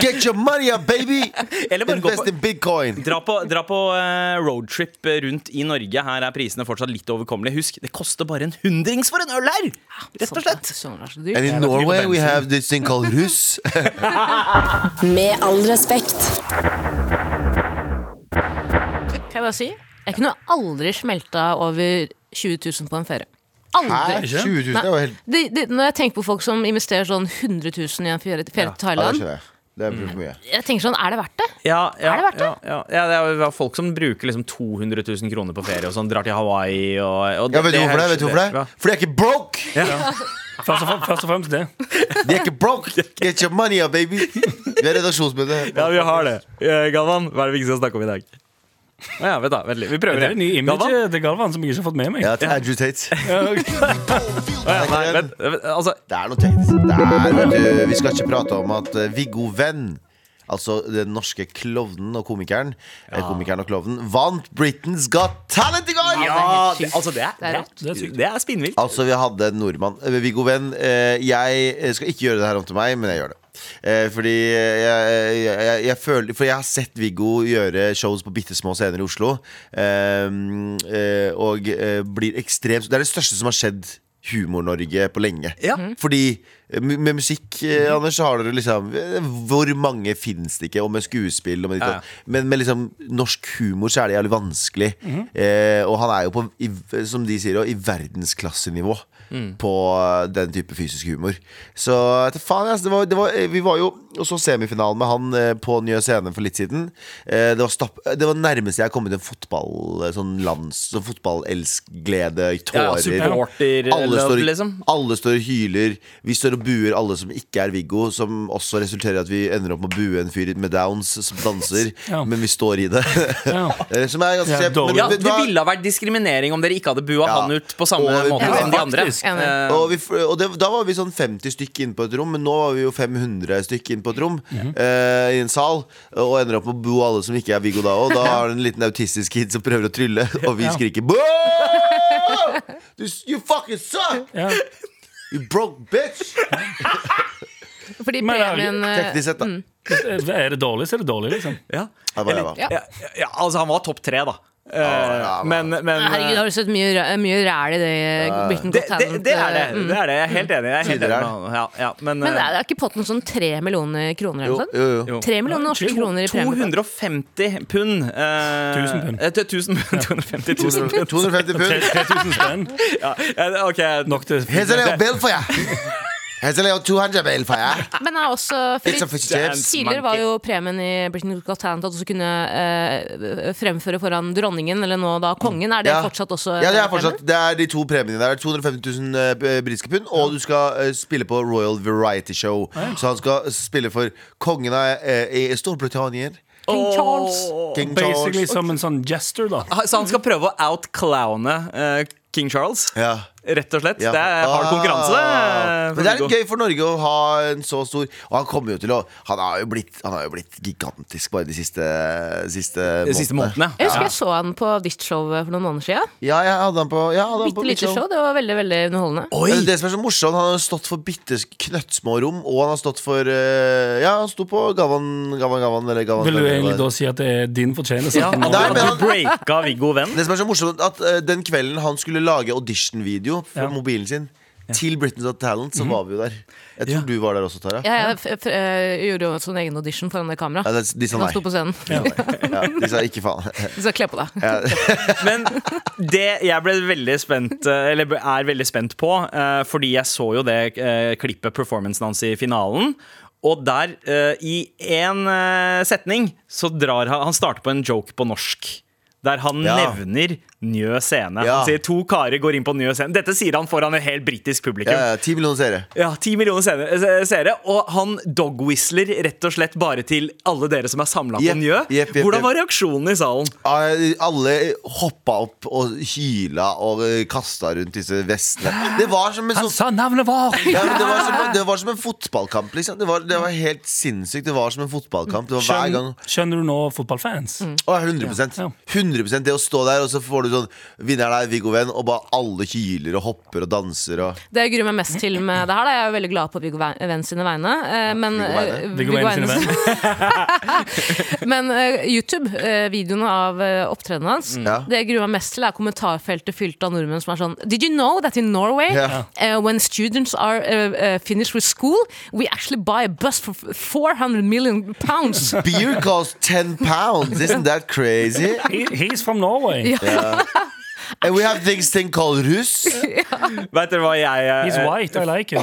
Speaker 4: Get your money up, baby!
Speaker 5: Eller bare gå
Speaker 4: Invest
Speaker 5: på
Speaker 4: in bitcoin.
Speaker 5: Dra på, dra på eh, roadtrip rundt i Norge. Her er prisene fortsatt litt overkommelige. Husk, det koster bare en hundrings for en øl her! Rett og slett.
Speaker 2: Sånn er det så
Speaker 4: And
Speaker 2: dyrt.
Speaker 4: in Norway we have this thing called russ.
Speaker 1: Med all respekt.
Speaker 2: Kan jeg bare si? Jeg kunne aldri smelta over 20 000 på en ferie. Aldri.
Speaker 4: Hæ? 20 000 er jo helt
Speaker 2: De, de, når jeg tenker på folk som investerer sånn 100 000 i en ferie, ferie til
Speaker 4: Ja, det
Speaker 2: Thailand,
Speaker 4: skjønner jeg. Det er for mye.
Speaker 2: jeg tenker sånn, er det verdt det?
Speaker 5: Ja, ja,
Speaker 2: Er det verdt det?
Speaker 5: Ja, ja. ja, det er jo folk som bruker liksom 200 000 kroner på ferie og sånn. Drar til Hawaii og, og
Speaker 4: Ja, vet du hvorfor det?
Speaker 5: er
Speaker 4: Vet du hvorfor det?
Speaker 5: Ja.
Speaker 4: Fordi jeg er ikke broke!
Speaker 3: Først og, frem- først og fremst det.
Speaker 4: De er ikke broke! Get your money up, baby! Vi har redaksjonsmøte.
Speaker 5: Ja, vi har det. Eh, Galvan, hva er det vi ikke skal snakke om i dag? Å Ja, vent da, vent litt. Vi prøver
Speaker 3: Det
Speaker 5: det.
Speaker 3: er en ny image
Speaker 5: Galvan?
Speaker 3: til Galvan som jeg ikke har fått med meg.
Speaker 4: Ja, til Andrew Tate.
Speaker 5: Å Ja, nei, vent, vent, altså,
Speaker 4: Det er noe teknisk. Det er, vet du, vi skal ikke prate om at eh, Viggo Venn Altså den norske klovnen og komikeren eh, Komikeren og klovnen Vant Britain's Got Talent i går!
Speaker 5: ja, det, altså, det er,
Speaker 2: Det er rått.
Speaker 5: det er, det er spinnvilt.
Speaker 4: Altså, vi hadde en nordmann. Eh, Viggo Venn, eh, jeg skal ikke gjøre det her om til meg, men jeg gjør det. Eh, fordi jeg, jeg, jeg, jeg føler For jeg har sett Viggo gjøre shows på bitte små scener i Oslo. Eh, eh, og eh, blir ekstremt Det er det største som har skjedd Humor-Norge på lenge.
Speaker 5: Ja.
Speaker 4: Fordi eh, mu- med musikk, eh,
Speaker 5: Mhm.
Speaker 4: Anders, så har dere liksom eh, Hvor mange fins det ikke? Og med skuespill og med ditt
Speaker 5: Ja, ja.
Speaker 4: og- Men med liksom norsk humor så er det jævlig vanskelig.
Speaker 5: Mhm.
Speaker 4: eh, og han er jo på, i, som de sier, også, i verdensklassenivå
Speaker 5: Mhm.
Speaker 4: på eh, den type fysisk humor. Så til faen, altså, det var, det var, eh, vi var jo og så semifinalen med han eh, på Nye Scene for litt siden. Eh, det, var stapp, eh, det var nærmest jeg har kommet en fotball eh, Sånn lands, sånn fotballelskglede,
Speaker 5: Ja,
Speaker 4: tårer alle står,
Speaker 5: Supporter-love, liksom.
Speaker 4: alle står og hyler. Vi står og buer alle som ikke er Viggo, som også resulterer i at vi ender opp med å bue en fyr med downs som danser,
Speaker 3: Ja.
Speaker 4: men vi står i det.
Speaker 3: Ja.
Speaker 4: Eh, som er ganske
Speaker 3: Ja,
Speaker 4: kjempe- men
Speaker 3: dårlig.
Speaker 5: Ja,
Speaker 4: vet
Speaker 5: det
Speaker 4: du hva?
Speaker 5: ville ha vært diskriminering om dere ikke hadde bua
Speaker 4: Ja.
Speaker 5: han ut på samme
Speaker 4: Og-
Speaker 5: måte
Speaker 4: Ja,
Speaker 5: som de andre.
Speaker 3: faktisk.
Speaker 5: Eh,
Speaker 4: Og, vi, f- og det, da var vi sånn 50 stykk inne på et rom, men nå var vi jo 500 stykk inne på et rom.
Speaker 3: Mhm.
Speaker 4: eh, I en sal. Og ender opp med å bo alle som ikke er Viggo da òg. Da har du en liten autistisk kid som prøver å trylle, og vi skriker Boo! Du, s- You fucking suck!
Speaker 3: Ja.
Speaker 4: You broke bitch!
Speaker 2: Fordi
Speaker 3: Men det er jo
Speaker 2: premien eh,
Speaker 4: Teknisk sett, da.
Speaker 3: Er det dårlig, så er det dårlig, liksom.
Speaker 5: Ja.
Speaker 4: Ja, bare, ja.
Speaker 2: Ja.
Speaker 5: Ja, ja, altså, han var topp tre, da. Eh,
Speaker 4: ja,
Speaker 5: men men
Speaker 2: Herregud, har du sett mye, ra- mye ræl i det eh, Britain
Speaker 5: det,
Speaker 2: Got
Speaker 5: det,
Speaker 2: Talent?
Speaker 5: det er det.
Speaker 2: eh, mm.
Speaker 5: det er det. Jeg er helt enig. Jeg er helt enig
Speaker 4: Tidligere.
Speaker 5: med han. ja, ja, men,
Speaker 2: Men det
Speaker 5: eh,
Speaker 2: er, er ikke potten sånn tre millioner kroner eller
Speaker 4: Jo,
Speaker 2: noe sånt?
Speaker 4: jo, jo.
Speaker 5: Jo.
Speaker 2: Tre millioner norske
Speaker 3: Ja,
Speaker 2: kroner i premie.
Speaker 5: 250 pund. eh,
Speaker 3: 1000 pund.
Speaker 5: eh, til 1000 pund. 250 000 pund.
Speaker 4: 250
Speaker 3: Tre-
Speaker 4: pund.
Speaker 3: 3000 spenn.
Speaker 5: Ja, eh, ok.
Speaker 3: Nok til
Speaker 4: Hezeleo bill for jeg. Hezeleo 200 bill for jeg.
Speaker 2: Men er også fordi
Speaker 4: It's a fish chips.
Speaker 2: Tidligere var jo premien i Britain Got Talent at du også kunne eh, fremføre foran dronningen, eller nå da kongen. Er det
Speaker 4: Ja.
Speaker 2: fortsatt også eh,
Speaker 4: Ja, det er
Speaker 2: premie?
Speaker 4: fortsatt Det er de to premiene der. 250 000 eh, britiske pund, og du skal eh, spille på Royal Variety Show. Så han skal spille for kongen av eh, i Storbritannia.
Speaker 2: King Charles.
Speaker 4: King
Speaker 3: Basically
Speaker 4: Charles.
Speaker 3: som en sånn jester, da.
Speaker 5: Ah, Så han skal prøve å outclowne eh, King Charles?
Speaker 4: Ja.
Speaker 5: Rett og slett.
Speaker 4: Ja.
Speaker 5: Det er hard konkurranse.
Speaker 4: Ah.
Speaker 5: eh,
Speaker 4: Men det er
Speaker 5: Viggo.
Speaker 4: litt gøy for Norge å ha en så stor Og han kommer jo til å Han har jo blitt, han har jo blitt gigantisk bare de siste, siste,
Speaker 5: De siste månedene.
Speaker 2: Jeg husker jeg så han på ditt show for noen måneder siden.
Speaker 4: Ja, jeg hadde han på, ja, jeg hadde han
Speaker 2: Bitte
Speaker 4: på mitt
Speaker 2: lite show. Det var veldig veldig underholdende.
Speaker 5: Oi!
Speaker 4: Eh, Det som er så morsomt, han har stått for bitte knøttsmå rom, og han har stått for eh, Ja, han sto på Gavan, Gavan, Gavan, eller Gavan
Speaker 3: Vil du
Speaker 4: Gavan,
Speaker 3: egentlig
Speaker 4: Gavan.
Speaker 3: da si at det er din fortjeneste?
Speaker 5: Ja,
Speaker 3: at
Speaker 5: at
Speaker 3: nå-
Speaker 5: du,
Speaker 4: Nei,
Speaker 5: at
Speaker 4: men
Speaker 5: du
Speaker 4: han-
Speaker 5: breaka Viggo Venn.
Speaker 4: Det som er så morsomt, at eh, den kvelden han skulle lage auditionvideo for
Speaker 3: Ja. Mhm.
Speaker 4: mobilen sin til Britain's Got Talent, så var vi jo der. Jeg tror du var der også, Tara.
Speaker 2: Jeg, jeg, f- f- eh, gjorde jo en sånn egen audition foran det
Speaker 4: Ja,
Speaker 2: kameraet.
Speaker 4: det, de sa
Speaker 2: Han sto
Speaker 4: nei.
Speaker 2: på scenen.
Speaker 4: Ja, de sa ikke faen.
Speaker 2: Du skal kle på deg.
Speaker 4: Ja.
Speaker 5: Men det jeg ble veldig spent eh, Eller er veldig spent på, eh, fordi jeg så jo det eh, klippet performancen hans i finalen. Og der, eh, i én setning, så drar han Han starter på en joke på norsk. Der han
Speaker 4: Ja.
Speaker 5: nevner Njø scene.
Speaker 4: Ja.
Speaker 5: Han sier to karer går inn på Njø scene. Dette sier han foran et helt britisk publikum.
Speaker 4: Ja, ja, Ti millioner seere.
Speaker 5: Ja, ti millioner seere- eh, se- seere. Og han dogwhistler rett og slett bare til alle dere som er samla
Speaker 4: Jepp,
Speaker 5: på Njø.
Speaker 4: jepp, jepp,
Speaker 5: Hvordan
Speaker 4: jepp.
Speaker 5: var reaksjonen i salen?
Speaker 4: Ah, Alle hoppa opp og hyla og eh, kasta rundt disse vestene. Det var som en
Speaker 3: Han
Speaker 4: sånn
Speaker 3: sa navnet vårt!
Speaker 4: ja, men det, var som, det var som en fotballkamp, liksom. Det var, det var helt sinnssykt. Det var som en fotballkamp. Det var hver gang
Speaker 3: Skjønner, skjønner du nå fotballfans?
Speaker 4: Å, 100
Speaker 3: Ja.
Speaker 4: 100 Det å stå der, og så får du sånn Vinneren er Viggo Venn, og bare alle hyler og hopper og danser og
Speaker 2: Det jeg gruer meg mest til med det her, da. jeg er jo veldig glad på Viggo Ve- Venn sine vegne. eh, Men,
Speaker 4: Viggo Veine.
Speaker 2: eh,
Speaker 3: Viggo Venn sine
Speaker 2: Veine-
Speaker 3: venn.
Speaker 2: Men eh, YouTube, eh, videoene av uh, opptredenen hans,
Speaker 4: Mm. Ja.
Speaker 2: det jeg gruer meg mest til, er kommentarfeltet fylt av nordmenn som er sånn Did you know that in Norway,
Speaker 4: Ja.
Speaker 2: eh, when students are eh, eh, finished with school, we actually buy a bus for 400 million pounds?
Speaker 4: Beer costs 10 pounds, isn't that crazy?
Speaker 3: He, he's from Norway.
Speaker 4: And we have things thing called russ.
Speaker 5: Vet dere hva jeg
Speaker 3: He's
Speaker 5: eh,
Speaker 3: white, I like him.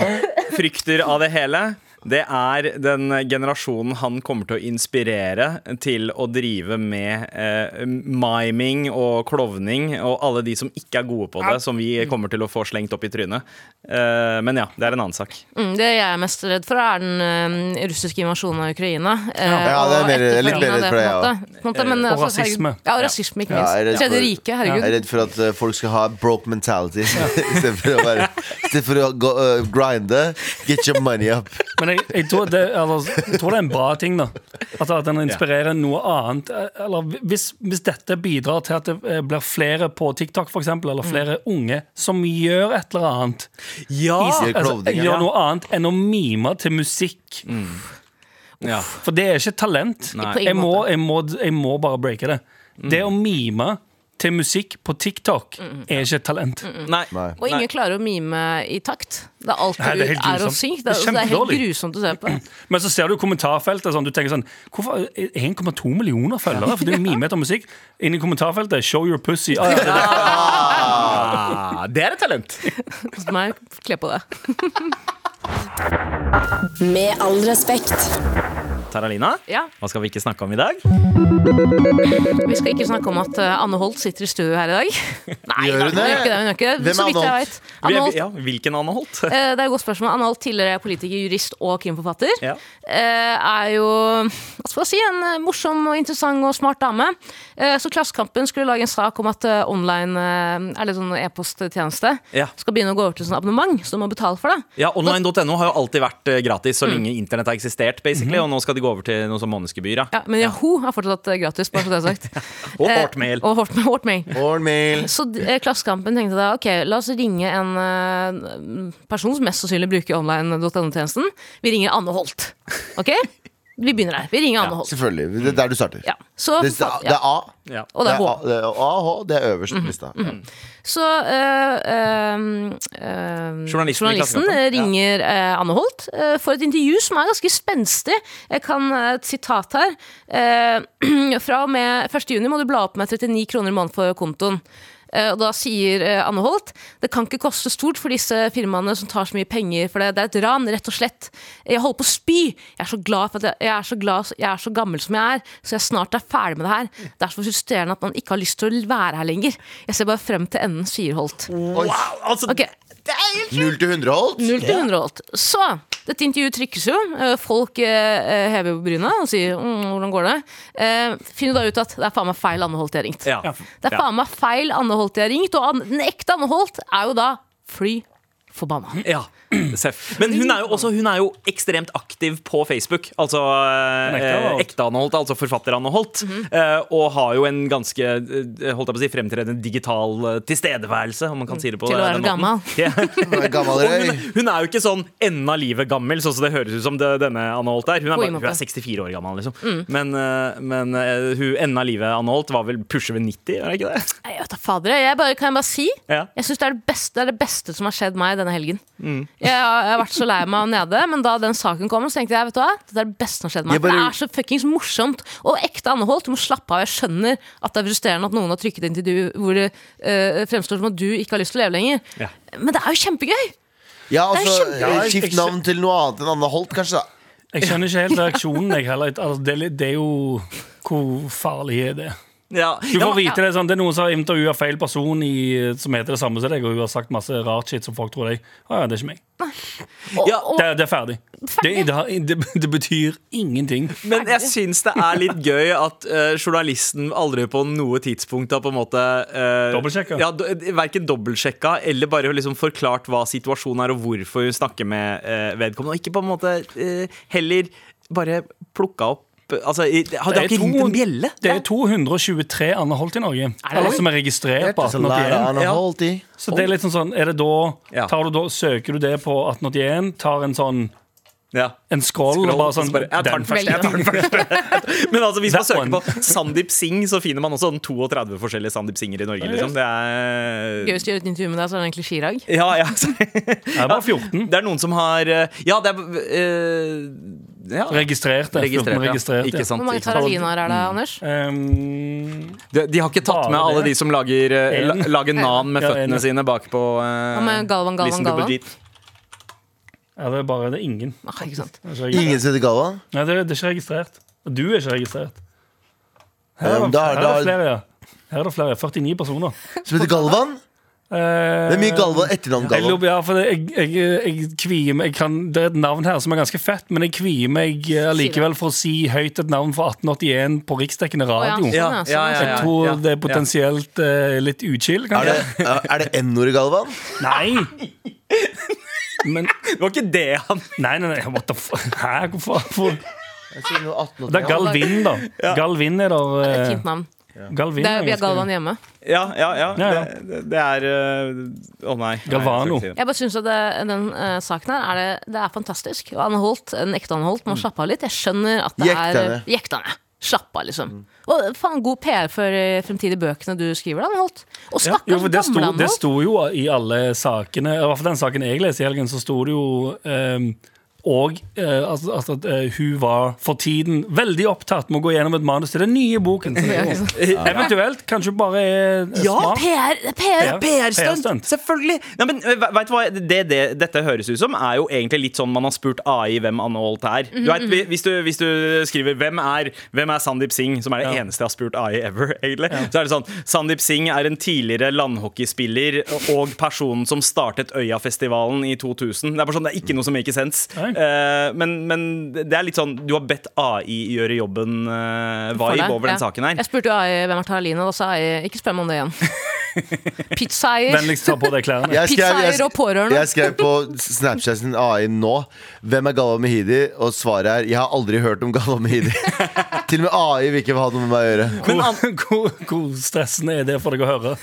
Speaker 5: frykter av det hele? Det er den generasjonen han kommer til å inspirere til å drive med eh, miming og klovning, og alle de som ikke er gode på det, som vi kommer til å få slengt opp i trynet. Eh, men ja, det er en annen sak.
Speaker 2: Mm, det jeg er mest redd for, er den eh, russiske invasjonen av Ukraina. eh,
Speaker 4: Ja, det er
Speaker 2: og
Speaker 4: mer- jeg er litt
Speaker 2: etterfølgingen
Speaker 4: mer
Speaker 2: av
Speaker 4: redd for det,
Speaker 2: på en måte. På en måte, men,
Speaker 3: Og
Speaker 2: altså,
Speaker 3: Eh, rasisme.
Speaker 2: herregud- Ja, og rasisme, ikke
Speaker 4: Ja, jeg er
Speaker 2: minst.
Speaker 4: redd
Speaker 2: Tredje
Speaker 4: for-
Speaker 2: riket,
Speaker 4: Jeg
Speaker 2: herregud.
Speaker 4: er redd for at eh, folk skal ha broke mentality. Istedenfor å, være- i stedet for å gå, eh, grinde. Get your money up.
Speaker 3: Men jeg, jeg, tror det, altså, jeg tror det er en bra ting, da. Altså, at den inspirerer noe annet. Eh, Eller hvis, hvis dette bidrar til at det eh, blir flere på TikTok, for eksempel, eller flere unge som gjør et eller annet.
Speaker 5: Ja!
Speaker 4: Gjør
Speaker 3: Altså,
Speaker 4: klovninger.
Speaker 3: gjør noe annet enn å mime til musikk.
Speaker 5: ja.
Speaker 3: For det er ikke et talent.
Speaker 5: Nei.
Speaker 2: På
Speaker 3: Jeg
Speaker 2: ingen
Speaker 3: må,
Speaker 2: måte.
Speaker 3: jeg, må, jeg må bare breake det. Det å mime til musikk på TikTok
Speaker 2: Mm,
Speaker 3: er ikke et talent.
Speaker 5: Nei.
Speaker 4: Nei.
Speaker 2: Og ingen klarer å mime i takt. Det er alt
Speaker 3: Nei,
Speaker 2: du
Speaker 3: det er
Speaker 2: er,
Speaker 3: helt
Speaker 2: å
Speaker 3: grusomt.
Speaker 2: si. Det
Speaker 3: Det er
Speaker 2: er, det er helt
Speaker 3: kjempedårlig.
Speaker 2: grusomt å se på.
Speaker 3: Men så ser du kommentarfeltet sånn, Du tenker sånn, hvorfor er 1,2 millioner følgere For du mimer etter musikk Inn i kommentarfeltet, show your pussy ah, ja, det,
Speaker 5: Ah, det er et talent!
Speaker 2: Hos meg, kle på det.
Speaker 1: Med all respekt.
Speaker 5: Taralina,
Speaker 2: Ja.
Speaker 5: hva skal vi ikke snakke om i dag?
Speaker 2: Vi skal ikke snakke om at eh, Anne Holt sitter i studio her i dag. Nei,
Speaker 4: Gjør
Speaker 2: da,
Speaker 4: hun
Speaker 2: hun gjør ikke
Speaker 4: det?
Speaker 2: det. Hun gjør ikke
Speaker 4: Hvem
Speaker 2: det.
Speaker 4: er
Speaker 2: Så vidt jeg
Speaker 4: Anne Holt?
Speaker 2: vet.
Speaker 5: Vi
Speaker 2: Anne
Speaker 5: er,
Speaker 2: Holt,
Speaker 5: ja, hvilken Anne Holt?
Speaker 2: eh, det er et godt spørsmål. Anne Holt, tidligere politiker, jurist og krimforfatter,
Speaker 5: Ja.
Speaker 2: eh, er jo hva skal jeg si, en eh, morsom og interessant og smart dame. Eh, Så Klassekampen skulle lage en sak om at eh, online eh, eller sånn e-posttjeneste
Speaker 5: Ja.
Speaker 2: skal begynne å gå over til sånn abonnement, så du må betale for det. Mm. Mhm.
Speaker 5: Ja, Online.no har jo alltid vært eh, gratis så lenge internett har eksistert. basically Og nå skal det gå over til noe sånn månedsgebyr. Ja.
Speaker 2: Ja, men Yahoo er fortsatt eh, gratis, bare så det er sagt.
Speaker 5: Og
Speaker 2: Eh,
Speaker 5: Hotmail.
Speaker 2: Og Hort- Hotmail.
Speaker 4: Ornmail.
Speaker 2: Så d- eh, Klassekampen tenkte da ok, la oss ringe en eh, person som mest sannsynlig bruker online.no-tjenesten. Vi ringer Anne Holt. Ok? Vi begynner der. Vi ringer Anne Holt.
Speaker 4: Selvfølgelig. Det er der du starter.
Speaker 2: Ja. Så,
Speaker 4: Det, er- det er A.
Speaker 5: Ja.
Speaker 2: Og det er H. Mhm.
Speaker 4: A, det er A, H. Det er øverst på lista. Ja.
Speaker 2: Så eh, ehm, ehm,
Speaker 5: Journalisten i
Speaker 2: journalisten
Speaker 5: Klassekampen.
Speaker 2: ringer eh, Anne Holt eh, for et intervju som er ganske spenstig. Jeg kan eh, et sitat her. Eh, fra og med 1. juni må du bla opp med 39 kroner i måneden for kontoen. Eh, og da sier eh, Anne Holt det kan ikke koste stort for disse firmaene som tar så mye penger for det. Det er et ran, rett og slett. Jeg holder på å spy. Jeg er så glad for at jeg, jeg, er, så glad, jeg er så gammel som jeg er, så jeg snart er ferdig med det her. Det er så frustrerende at man ikke har lyst til å være her lenger. Jeg ser bare frem til enden, sier Holt.
Speaker 4: Oi,
Speaker 5: Altså,
Speaker 2: Ok,
Speaker 4: Mm. Null til 100 holdt?
Speaker 2: Null til 100 volt. Så dette intervjuet trykkes jo. Eh, Folk eh, hever på bryna og sier mm, 'hvordan går det?' Eh, Finner da ut at det er faen meg feil Anne Holt jeg har ringt.
Speaker 5: ja.
Speaker 2: Det er faen meg feil Anne Holt jeg har ringt, og an- den ekte Anne Holt er jo da fly forbanna.
Speaker 5: Ja, Seff. Men hun er jo også hun er jo ekstremt aktiv på Facebook. Altså
Speaker 3: Hun er ekte Anne
Speaker 5: eh,
Speaker 3: Holt.
Speaker 5: ekte Anne Holt, altså forfatter Anne Holt.
Speaker 2: Mhm.
Speaker 5: eh, Og har jo en ganske eh, holdt jeg på å si, fremtredende digital eh, tilstedeværelse, om man kan si det på
Speaker 2: Mm. Til å
Speaker 5: den
Speaker 2: være
Speaker 5: måten.
Speaker 2: gammel.
Speaker 5: Ja.
Speaker 4: Gammel
Speaker 5: Og hun,
Speaker 4: røy.
Speaker 5: hun er jo ikke sånn enden av livet gammel, sånn som det høres ut som det, denne Anne Holt er. Hun er,
Speaker 2: På
Speaker 5: bare,
Speaker 2: ingen
Speaker 5: hun er
Speaker 2: måte. Mm.
Speaker 5: 64 år gammel, liksom. Men, eh, men eh, hun enden av livet Anne Holt var vel pusher ved 90, er det ikke det?
Speaker 2: Nei, Jeg vet da fader, jeg bare, kan jeg bare si
Speaker 5: Ja.
Speaker 2: Jeg synes det er det beste, det er det beste som har skjedd meg denne helgen.
Speaker 5: Mm.
Speaker 2: Jeg, har- jeg har vært så lei meg og nede, men da den saken kom, så tenkte jeg vet du hva, det er det beste som har skjedd meg.
Speaker 4: Jeg bare-
Speaker 2: Det er så fuckings morsomt og ekte Anne Holt. Du må slappe av. Jeg skjønner at det er frustrerende at noen har trykket inn til du hvor det eh, fremstår som at du ikke har lyst til å leve lenger.
Speaker 5: Ja.
Speaker 2: Men det er jo kjempegøy!
Speaker 4: Ja, altså,
Speaker 2: Det er
Speaker 3: kjempe-
Speaker 4: eh, skift navn til noe annet enn Anne Holt, kanskje. da
Speaker 3: Jeg skjønner ikke helt reaksjonen. Jeg heller. Altså, det, er litt- det er jo Hvor farlig er det?
Speaker 5: Ja.
Speaker 3: Du
Speaker 5: Ja,
Speaker 3: får
Speaker 5: men-
Speaker 3: vite Det sånn, det er noen som har intervjua feil person i, eh, som heter det samme som deg, og hun har sagt masse rart shit som folk tror deg. Å ja, det er ikke meg.
Speaker 2: Og,
Speaker 5: Ja,
Speaker 2: og,
Speaker 3: Det, er- det er ferdig. Det,
Speaker 2: Ferdig.
Speaker 3: det, har- det, det betyr ingenting.
Speaker 5: Men jeg syns det er litt gøy at eh, journalisten aldri på noe tidspunkt har på en måte uh,
Speaker 3: Dobbeltsjekka.
Speaker 5: Ja, do, verken dobbeltsjekka eller bare liksom forklart hva situasjonen er og hvorfor hun snakker med eh, vedkommende. Og ikke på en måte eh, heller bare plukka opp Altså, i- det har det
Speaker 3: Det er
Speaker 5: har ikke ringt en
Speaker 3: to-
Speaker 5: bjelle.
Speaker 3: Det er 223 Anne Holt i Norge. Eller som er registrert på
Speaker 4: Så lærer
Speaker 3: 1881.
Speaker 4: Anne
Speaker 5: Ja.
Speaker 4: Holt i.
Speaker 3: Så det er litt sånn sånn, er det da,
Speaker 5: Ja.
Speaker 3: tar du da Søker du det på 1881, tar en sånn
Speaker 5: Ja.
Speaker 3: en scroll,
Speaker 5: Scroll,
Speaker 3: og bare sånn
Speaker 5: så bare, jeg tar den først, jeg tar den først. Men altså, hvis man
Speaker 3: That
Speaker 5: søker
Speaker 3: one.
Speaker 5: på Sandeep Singh, så finner man også sånn 32 forskjellige Sandeep Singer i Norge. Liksom. Det er
Speaker 2: gøy hvis du gjør et intervju med deg, så er det egentlig Chirag.
Speaker 5: Ja, ja.
Speaker 3: Jeg er bare 14.
Speaker 5: Det er noen som har eh, Ja, det er eh, ja.
Speaker 3: Registrert. det er 14
Speaker 5: ja.
Speaker 3: registrert
Speaker 5: Ikke
Speaker 3: ja.
Speaker 5: sant.
Speaker 2: Hvor mange
Speaker 5: ikke sant.
Speaker 2: taralinaer er det, Anders?
Speaker 3: Ehm,
Speaker 5: De, de har ikke tatt
Speaker 3: Bare
Speaker 5: med alle
Speaker 3: det.
Speaker 5: de som lager, eh, la,
Speaker 3: En.
Speaker 5: lager nan med
Speaker 3: Ja,
Speaker 5: føttene
Speaker 3: en.
Speaker 5: sine bakpå. eh,
Speaker 2: Hva med Galvan, Galvan,
Speaker 5: Listen to
Speaker 2: Galvan? Sånn,
Speaker 5: Brigitte.
Speaker 3: ja, det er bare det er ingen.
Speaker 2: Ah, ikke sant.
Speaker 3: Det er ikke registrert.
Speaker 4: Ingen som heter Galvan?
Speaker 3: Nei, det er, det er ikke registrert. Og du er ikke registrert. Her
Speaker 5: Ehm,
Speaker 4: Ja,
Speaker 3: er
Speaker 4: men Um,
Speaker 3: det,
Speaker 4: da-
Speaker 3: her er det
Speaker 4: da-
Speaker 3: flere, ja. Her er det flere. 49 personer.
Speaker 4: Som heter Galvan?
Speaker 3: Eh,
Speaker 4: Det er mye Galvan etternavn
Speaker 3: Jeg,
Speaker 4: Galvan.
Speaker 3: lurer på- ja, for det, jeg, jeg, jeg kvier meg jeg kan, Det er et navn her som er ganske fett, men jeg kvier meg eh, likevel for å si høyt et navn fra 1881 på riksdekkende
Speaker 2: ja,
Speaker 3: radio.
Speaker 2: sånn, ja, sånn, ja.
Speaker 3: Jeg tror det er potensielt eh, litt uchill,
Speaker 4: Er
Speaker 3: kanskje.
Speaker 4: det, er det N-ordet Galvan?
Speaker 3: Nei! Men
Speaker 5: Det var ikke det han
Speaker 3: Nei, nei, nei, what the fuck? Hæ, hvorfor? hvorfor? Det
Speaker 4: Galvan.
Speaker 3: er Galvin, da. Galvin er der.
Speaker 2: Det er et
Speaker 3: eh,
Speaker 2: fint navn.
Speaker 3: Galvin
Speaker 5: Mm.
Speaker 2: Det er,
Speaker 3: er
Speaker 2: vi har
Speaker 3: ganske-
Speaker 2: Galvan hjemme.
Speaker 5: Ja, ja, ja.
Speaker 3: Ja, ja.
Speaker 5: Det, det- det er eh, Å nei.
Speaker 3: Galvano.
Speaker 5: Nei, jeg skal ikke si det.
Speaker 2: Jeg bare synes at det, den eh, saken her er det, det er fantastisk. Og Anne Holt, en ekte Anne Holt må slappe av litt. Jeg skjønner at det
Speaker 4: Jekta
Speaker 2: er
Speaker 4: ned.
Speaker 2: Jekta ned. Slapp av, liksom. Og faen, god PR for eh, fremtidige bøkene du skriver, da, Anne Holt. Og
Speaker 3: Ja,
Speaker 2: stakkars
Speaker 3: jo, for det, sto,
Speaker 2: gamle Anne
Speaker 3: det
Speaker 2: Holt.
Speaker 3: sto jo i alle sakene, i hvert fall den saken jeg leser i helgen, så sto det jo ehm, og eh, altså, altså at eh, hun var for tiden veldig opptatt med å gå gjennom et manus til den nye boken. som det kom. Eventuelt kanskje bare er eh, smart.
Speaker 2: PR, det er PR.
Speaker 3: Ja.
Speaker 5: PR-stunt!
Speaker 3: PR-stunt.
Speaker 5: Selvfølgelig! Nei, men eh, ve- vet du hva det, det dette høres ut som, er jo egentlig litt sånn man har spurt AI hvem Anne Holt er. Du vet, hvi- hvis, du, hvis du skriver 'Hvem er, hvem er Sandeep Singh?', som er det
Speaker 3: Ja.
Speaker 5: eneste jeg har spurt AI ever, egentlig, så er det sånn Sandeep Singh er en tidligere landhockeyspiller og personen som startet Øyafestivalen i 2000. Det er bare sånn, det er ikke noe som make sense.
Speaker 3: Nei.
Speaker 5: Eh, men, men det er litt sånn Du har bedt AI gjøre jobben eh,
Speaker 2: For
Speaker 5: vibe
Speaker 2: deg,
Speaker 5: over den
Speaker 2: ja.
Speaker 5: saken her.
Speaker 2: eh, Jeg spurte jo AI hvem er Taralina, og da sa AI ikke spør meg om det igjen. Pizzaeier.
Speaker 3: Vennligst ta på deg klærne.
Speaker 4: Jeg skrev, jeg,
Speaker 2: Pizzaeier og pårørende.
Speaker 4: jeg skrev på Snapchaten AI nå Hvem er Galva Mehidi? Og svaret er Jeg har aldri hørt om Galva Mehidi. Til og med AI vil ikke ha noe med meg å gjøre.
Speaker 3: Hvor, hvor, hvor stressende er det for deg å høre?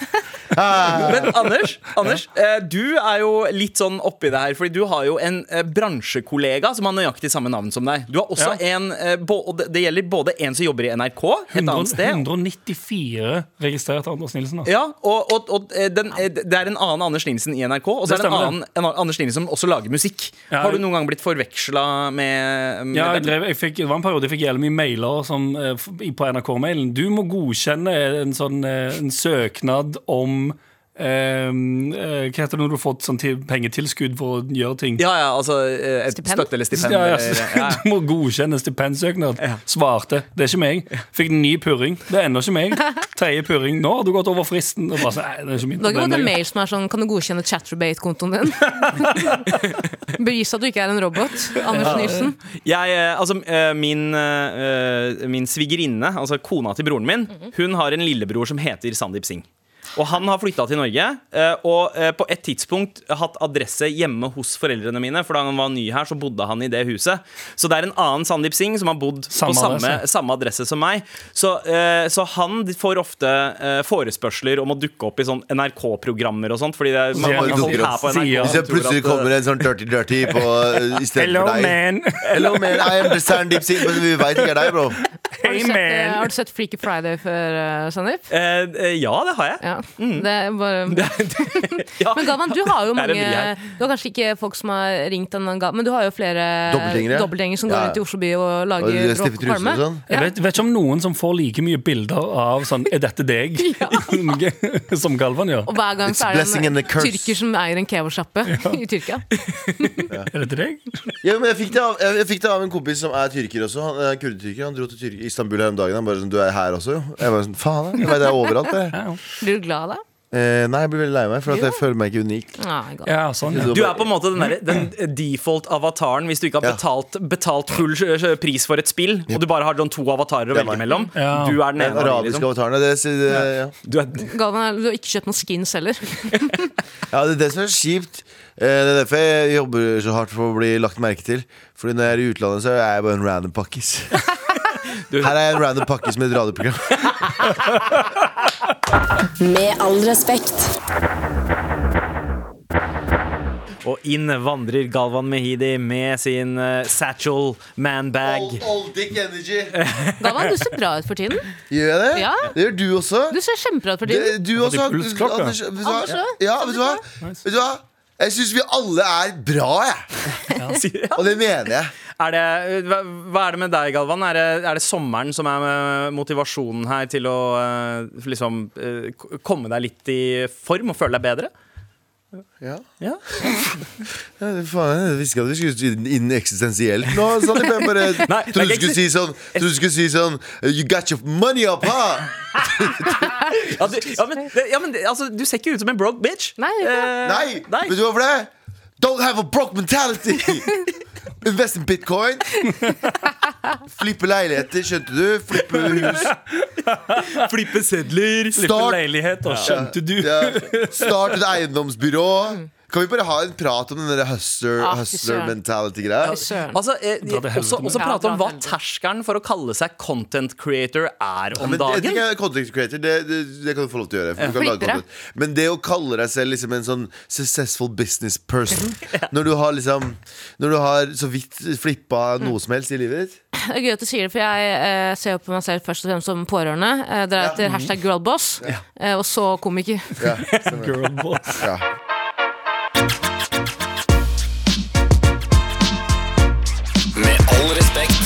Speaker 4: Ah,
Speaker 5: Men Anders, Anders eh, du er jo litt sånn oppi det her. Fordi du har jo en eh, bransjekollega som har nøyaktig samme navn som deg. Du har også en eh, bå- og det- Det gjelder både en som jobber i NRK et annet sted.
Speaker 3: 194 registrerte Anders Nilsen. Da.
Speaker 5: Ja, og, og, og eh, den, eh, det er en annen Anders Nilsen i NRK, og så
Speaker 3: Det
Speaker 5: er det en
Speaker 3: stemmer,
Speaker 5: annen en annen Anders Nilsen som også lager musikk.
Speaker 3: Ja,
Speaker 5: Har du
Speaker 3: jeg-
Speaker 5: noen gang blitt forveksla med, med
Speaker 3: Ja, jeg
Speaker 5: den?
Speaker 3: drev, jeg fikk, det var en periode jeg fikk jævlig mye mailer som, eh, f- i- på NRK-mailen. Du må godkjenne en, sånn, eh, en søknad om eh, eh, Hva heter det når du har fått sånn til, pengetilskudd for å gjøre ting?
Speaker 5: Ja, ja, altså eh, et
Speaker 2: Stipend?
Speaker 5: støtte eller stipend.
Speaker 3: Ja, ja,
Speaker 5: eller-
Speaker 3: så
Speaker 5: ja, ja.
Speaker 3: Du må godkjenne stipendsøknad. Svarte. Det er ikke meg. Fikk en ny purring. Det er ennå ikke meg. Tredje purring. Nå har du gått over fristen. Og bare, så, nei, det er ikke min.
Speaker 2: Du har ikke fått en
Speaker 3: problem.
Speaker 2: mail som er sånn Kan du godkjenne Chatterbate-kontoen din? Bevis at du ikke er en robot. Anders Nilsen.
Speaker 5: Jeg, eh, altså, eh, min, eh, min svigerinne, altså kona til broren min, hun har en lillebror som heter Sandeep Singh. Og han har flytta til Norge eh, og eh, på et tidspunkt hatt adresse hjemme hos foreldrene mine. For da han var ny her, så bodde han i det huset. Så det er en annen Sandeep Singh som har bodd
Speaker 3: Samme
Speaker 5: på samme,
Speaker 3: adresse.
Speaker 5: samme adresse som meg. Så, eh, så han får ofte eh, forespørsler om å dukke opp i sånn NRK-programmer og sånt. Fordi det er
Speaker 3: Sier
Speaker 5: mange
Speaker 4: han
Speaker 5: folk
Speaker 4: dukker
Speaker 5: her
Speaker 3: opp.
Speaker 5: på NRK.
Speaker 3: Sier han.
Speaker 4: Hvis
Speaker 5: som
Speaker 4: det
Speaker 5: tror
Speaker 4: plutselig
Speaker 5: at, eh,
Speaker 4: kommer en sånn dirty dirty på eh, i stedet
Speaker 3: Hello,
Speaker 4: for deg.
Speaker 3: man.
Speaker 4: Hello, man. I am Sandeep Singh, men vi veit ikke er deg, bro.
Speaker 2: Har
Speaker 3: Hey,
Speaker 2: du sett, eh,
Speaker 3: man.
Speaker 2: har du sett Freaky Friday før, eh, Sandeep?
Speaker 5: eh, eh, ja, det har jeg.
Speaker 2: Ja. Det er bare
Speaker 5: Ja.
Speaker 2: Men Galvan, du har jo
Speaker 5: Det er
Speaker 2: mange
Speaker 5: en vri her.
Speaker 2: Du har kanskje ikke folk som har ringt en annen gang, men du har jo flere
Speaker 4: Dobbeltgjengere?
Speaker 2: dobbeltgjenger som går
Speaker 4: Ja.
Speaker 2: rundt i Oslo by og
Speaker 4: Og
Speaker 2: lager
Speaker 4: du er
Speaker 2: bråk
Speaker 4: stiff i
Speaker 2: og
Speaker 4: trusen
Speaker 2: kvalme.
Speaker 4: og sånn.
Speaker 3: Jeg vet, vet ikke om noen som får like mye bilder av sånn Er dette deg? som Galvan gjør.
Speaker 2: Og hver gang
Speaker 4: It's
Speaker 2: så er
Speaker 4: blessing
Speaker 2: det
Speaker 4: and
Speaker 2: en
Speaker 4: a curse.
Speaker 2: tyrker som eier en kebabsjappe i Tyrkia.
Speaker 3: Er dette deg?
Speaker 4: Ja, men jeg fikk, det av, jeg fikk det av en kompis som er tyrker også. Han er kurdetyrker. Han dro til Tyrk Istanbul her om dagen. Han bare sånn Du er her også, jo. Jeg bare sånn Faen, jeg vet det er overalt, jeg.
Speaker 2: Blir du glad av det?
Speaker 4: Eh, nei, jeg blir veldig lei meg, for at jeg føler meg ikke unik.
Speaker 2: Nei, Galvan.
Speaker 3: Ja, sånn, ja.
Speaker 5: Du er på en måte den, derre- den default-avataren hvis du ikke har
Speaker 4: Mm. Ja.
Speaker 5: betalt, betalt full s- s- pris for et spill, og du bare har sånn to avatarer å
Speaker 4: Det er
Speaker 5: velge
Speaker 4: meg.
Speaker 5: mellom.
Speaker 3: Ja.
Speaker 5: Du er den
Speaker 4: Den
Speaker 5: ene. av de,
Speaker 4: arabiske
Speaker 5: Liksom.
Speaker 4: avataren. Det, det, det, ja.
Speaker 5: Du er,
Speaker 2: Galvan, du har ikke kjøpt noen skins heller.
Speaker 4: Ja, det er det som er kjipt. Eh, Det er derfor jeg jobber så hardt for å bli lagt merke til. Fordi når jeg er i utlandet, så er jeg bare en random pakkis. Her er jeg en random pakkis med et radioprogram.
Speaker 1: Med all respekt.
Speaker 5: og inn vandrer Galvan Mehidi med sin eh, satchel manbag.
Speaker 4: dick energy.
Speaker 2: Galvan, du ser bra ut for tiden.
Speaker 4: Gjør jeg det?
Speaker 2: Ja.
Speaker 4: Det gjør du også.
Speaker 2: Du ser kjempebra ut for
Speaker 4: Det,
Speaker 2: tiden.
Speaker 4: du også.
Speaker 3: Hadde pulsklokke.
Speaker 4: Anders, vet du hva?
Speaker 2: Anders også?
Speaker 4: Ja, vet du hva? Vet du hva? Jeg syns vi alle er bra, jeg.
Speaker 5: Sier-
Speaker 4: Og det mener jeg.
Speaker 5: Er det, hva, hva er det med deg, Galvan? Er det, er det sommeren som er eh, motivasjonen her til å eh, liksom eh, k- komme deg litt i form og føle deg bedre?
Speaker 4: Ja.
Speaker 5: Ja.
Speaker 4: Ja, det faen, jeg visste ikke at vi skulle inn- inn eksistensielt nå. Sånn, jeg bare
Speaker 5: Nei, det er
Speaker 4: trodde du
Speaker 5: ikke
Speaker 4: skulle si sånn Trodde du skulle si sånn You got your money up, huh?
Speaker 5: Ja, du, ja, men, det- ja, men det- altså, du ser ikke ut som en broke bitch.
Speaker 2: Nei, det er ikke det.
Speaker 5: Eh,
Speaker 4: Nei,
Speaker 5: nei.
Speaker 4: vet du hvorfor det? Don't have a broke mentality Invest in bitcoin Flippe leiligheter, skjønte du? Flippe hus
Speaker 5: Flippe sedler.
Speaker 3: Slippe
Speaker 4: Start.
Speaker 3: leiligheter, skjønte du?
Speaker 4: ja. Start et eiendomsbyrå Kan vi bare ha en prat om den der hustler,
Speaker 2: Ah, fy
Speaker 4: hustler
Speaker 2: søren.
Speaker 4: mentality greia?
Speaker 2: Fy søren.
Speaker 5: Altså, eh,
Speaker 3: Dra til
Speaker 5: også,
Speaker 3: helvete med
Speaker 5: også
Speaker 2: det.
Speaker 5: prate
Speaker 2: Ja, dra
Speaker 5: om hva
Speaker 2: til helvete.
Speaker 5: terskelen for å kalle seg content creator er om
Speaker 4: Men jeg
Speaker 5: dagen.
Speaker 4: tenker content creator det, det, det kan du få lov til å gjøre. For du kan lage
Speaker 2: Flippere.
Speaker 4: content. Men det å kalle deg selv liksom en sånn successful business person Når du har liksom Når du har så vidt flippa noe som helst i livet ditt
Speaker 2: Det er gøy at du sier det, for jeg eh, ser jo på meg selv først og fremst som pårørende. Eh, Deretter hashtag girlboss, eh, og så komiker.
Speaker 4: ja.
Speaker 3: Girlboss.
Speaker 4: Ja.
Speaker 6: Med all respekt.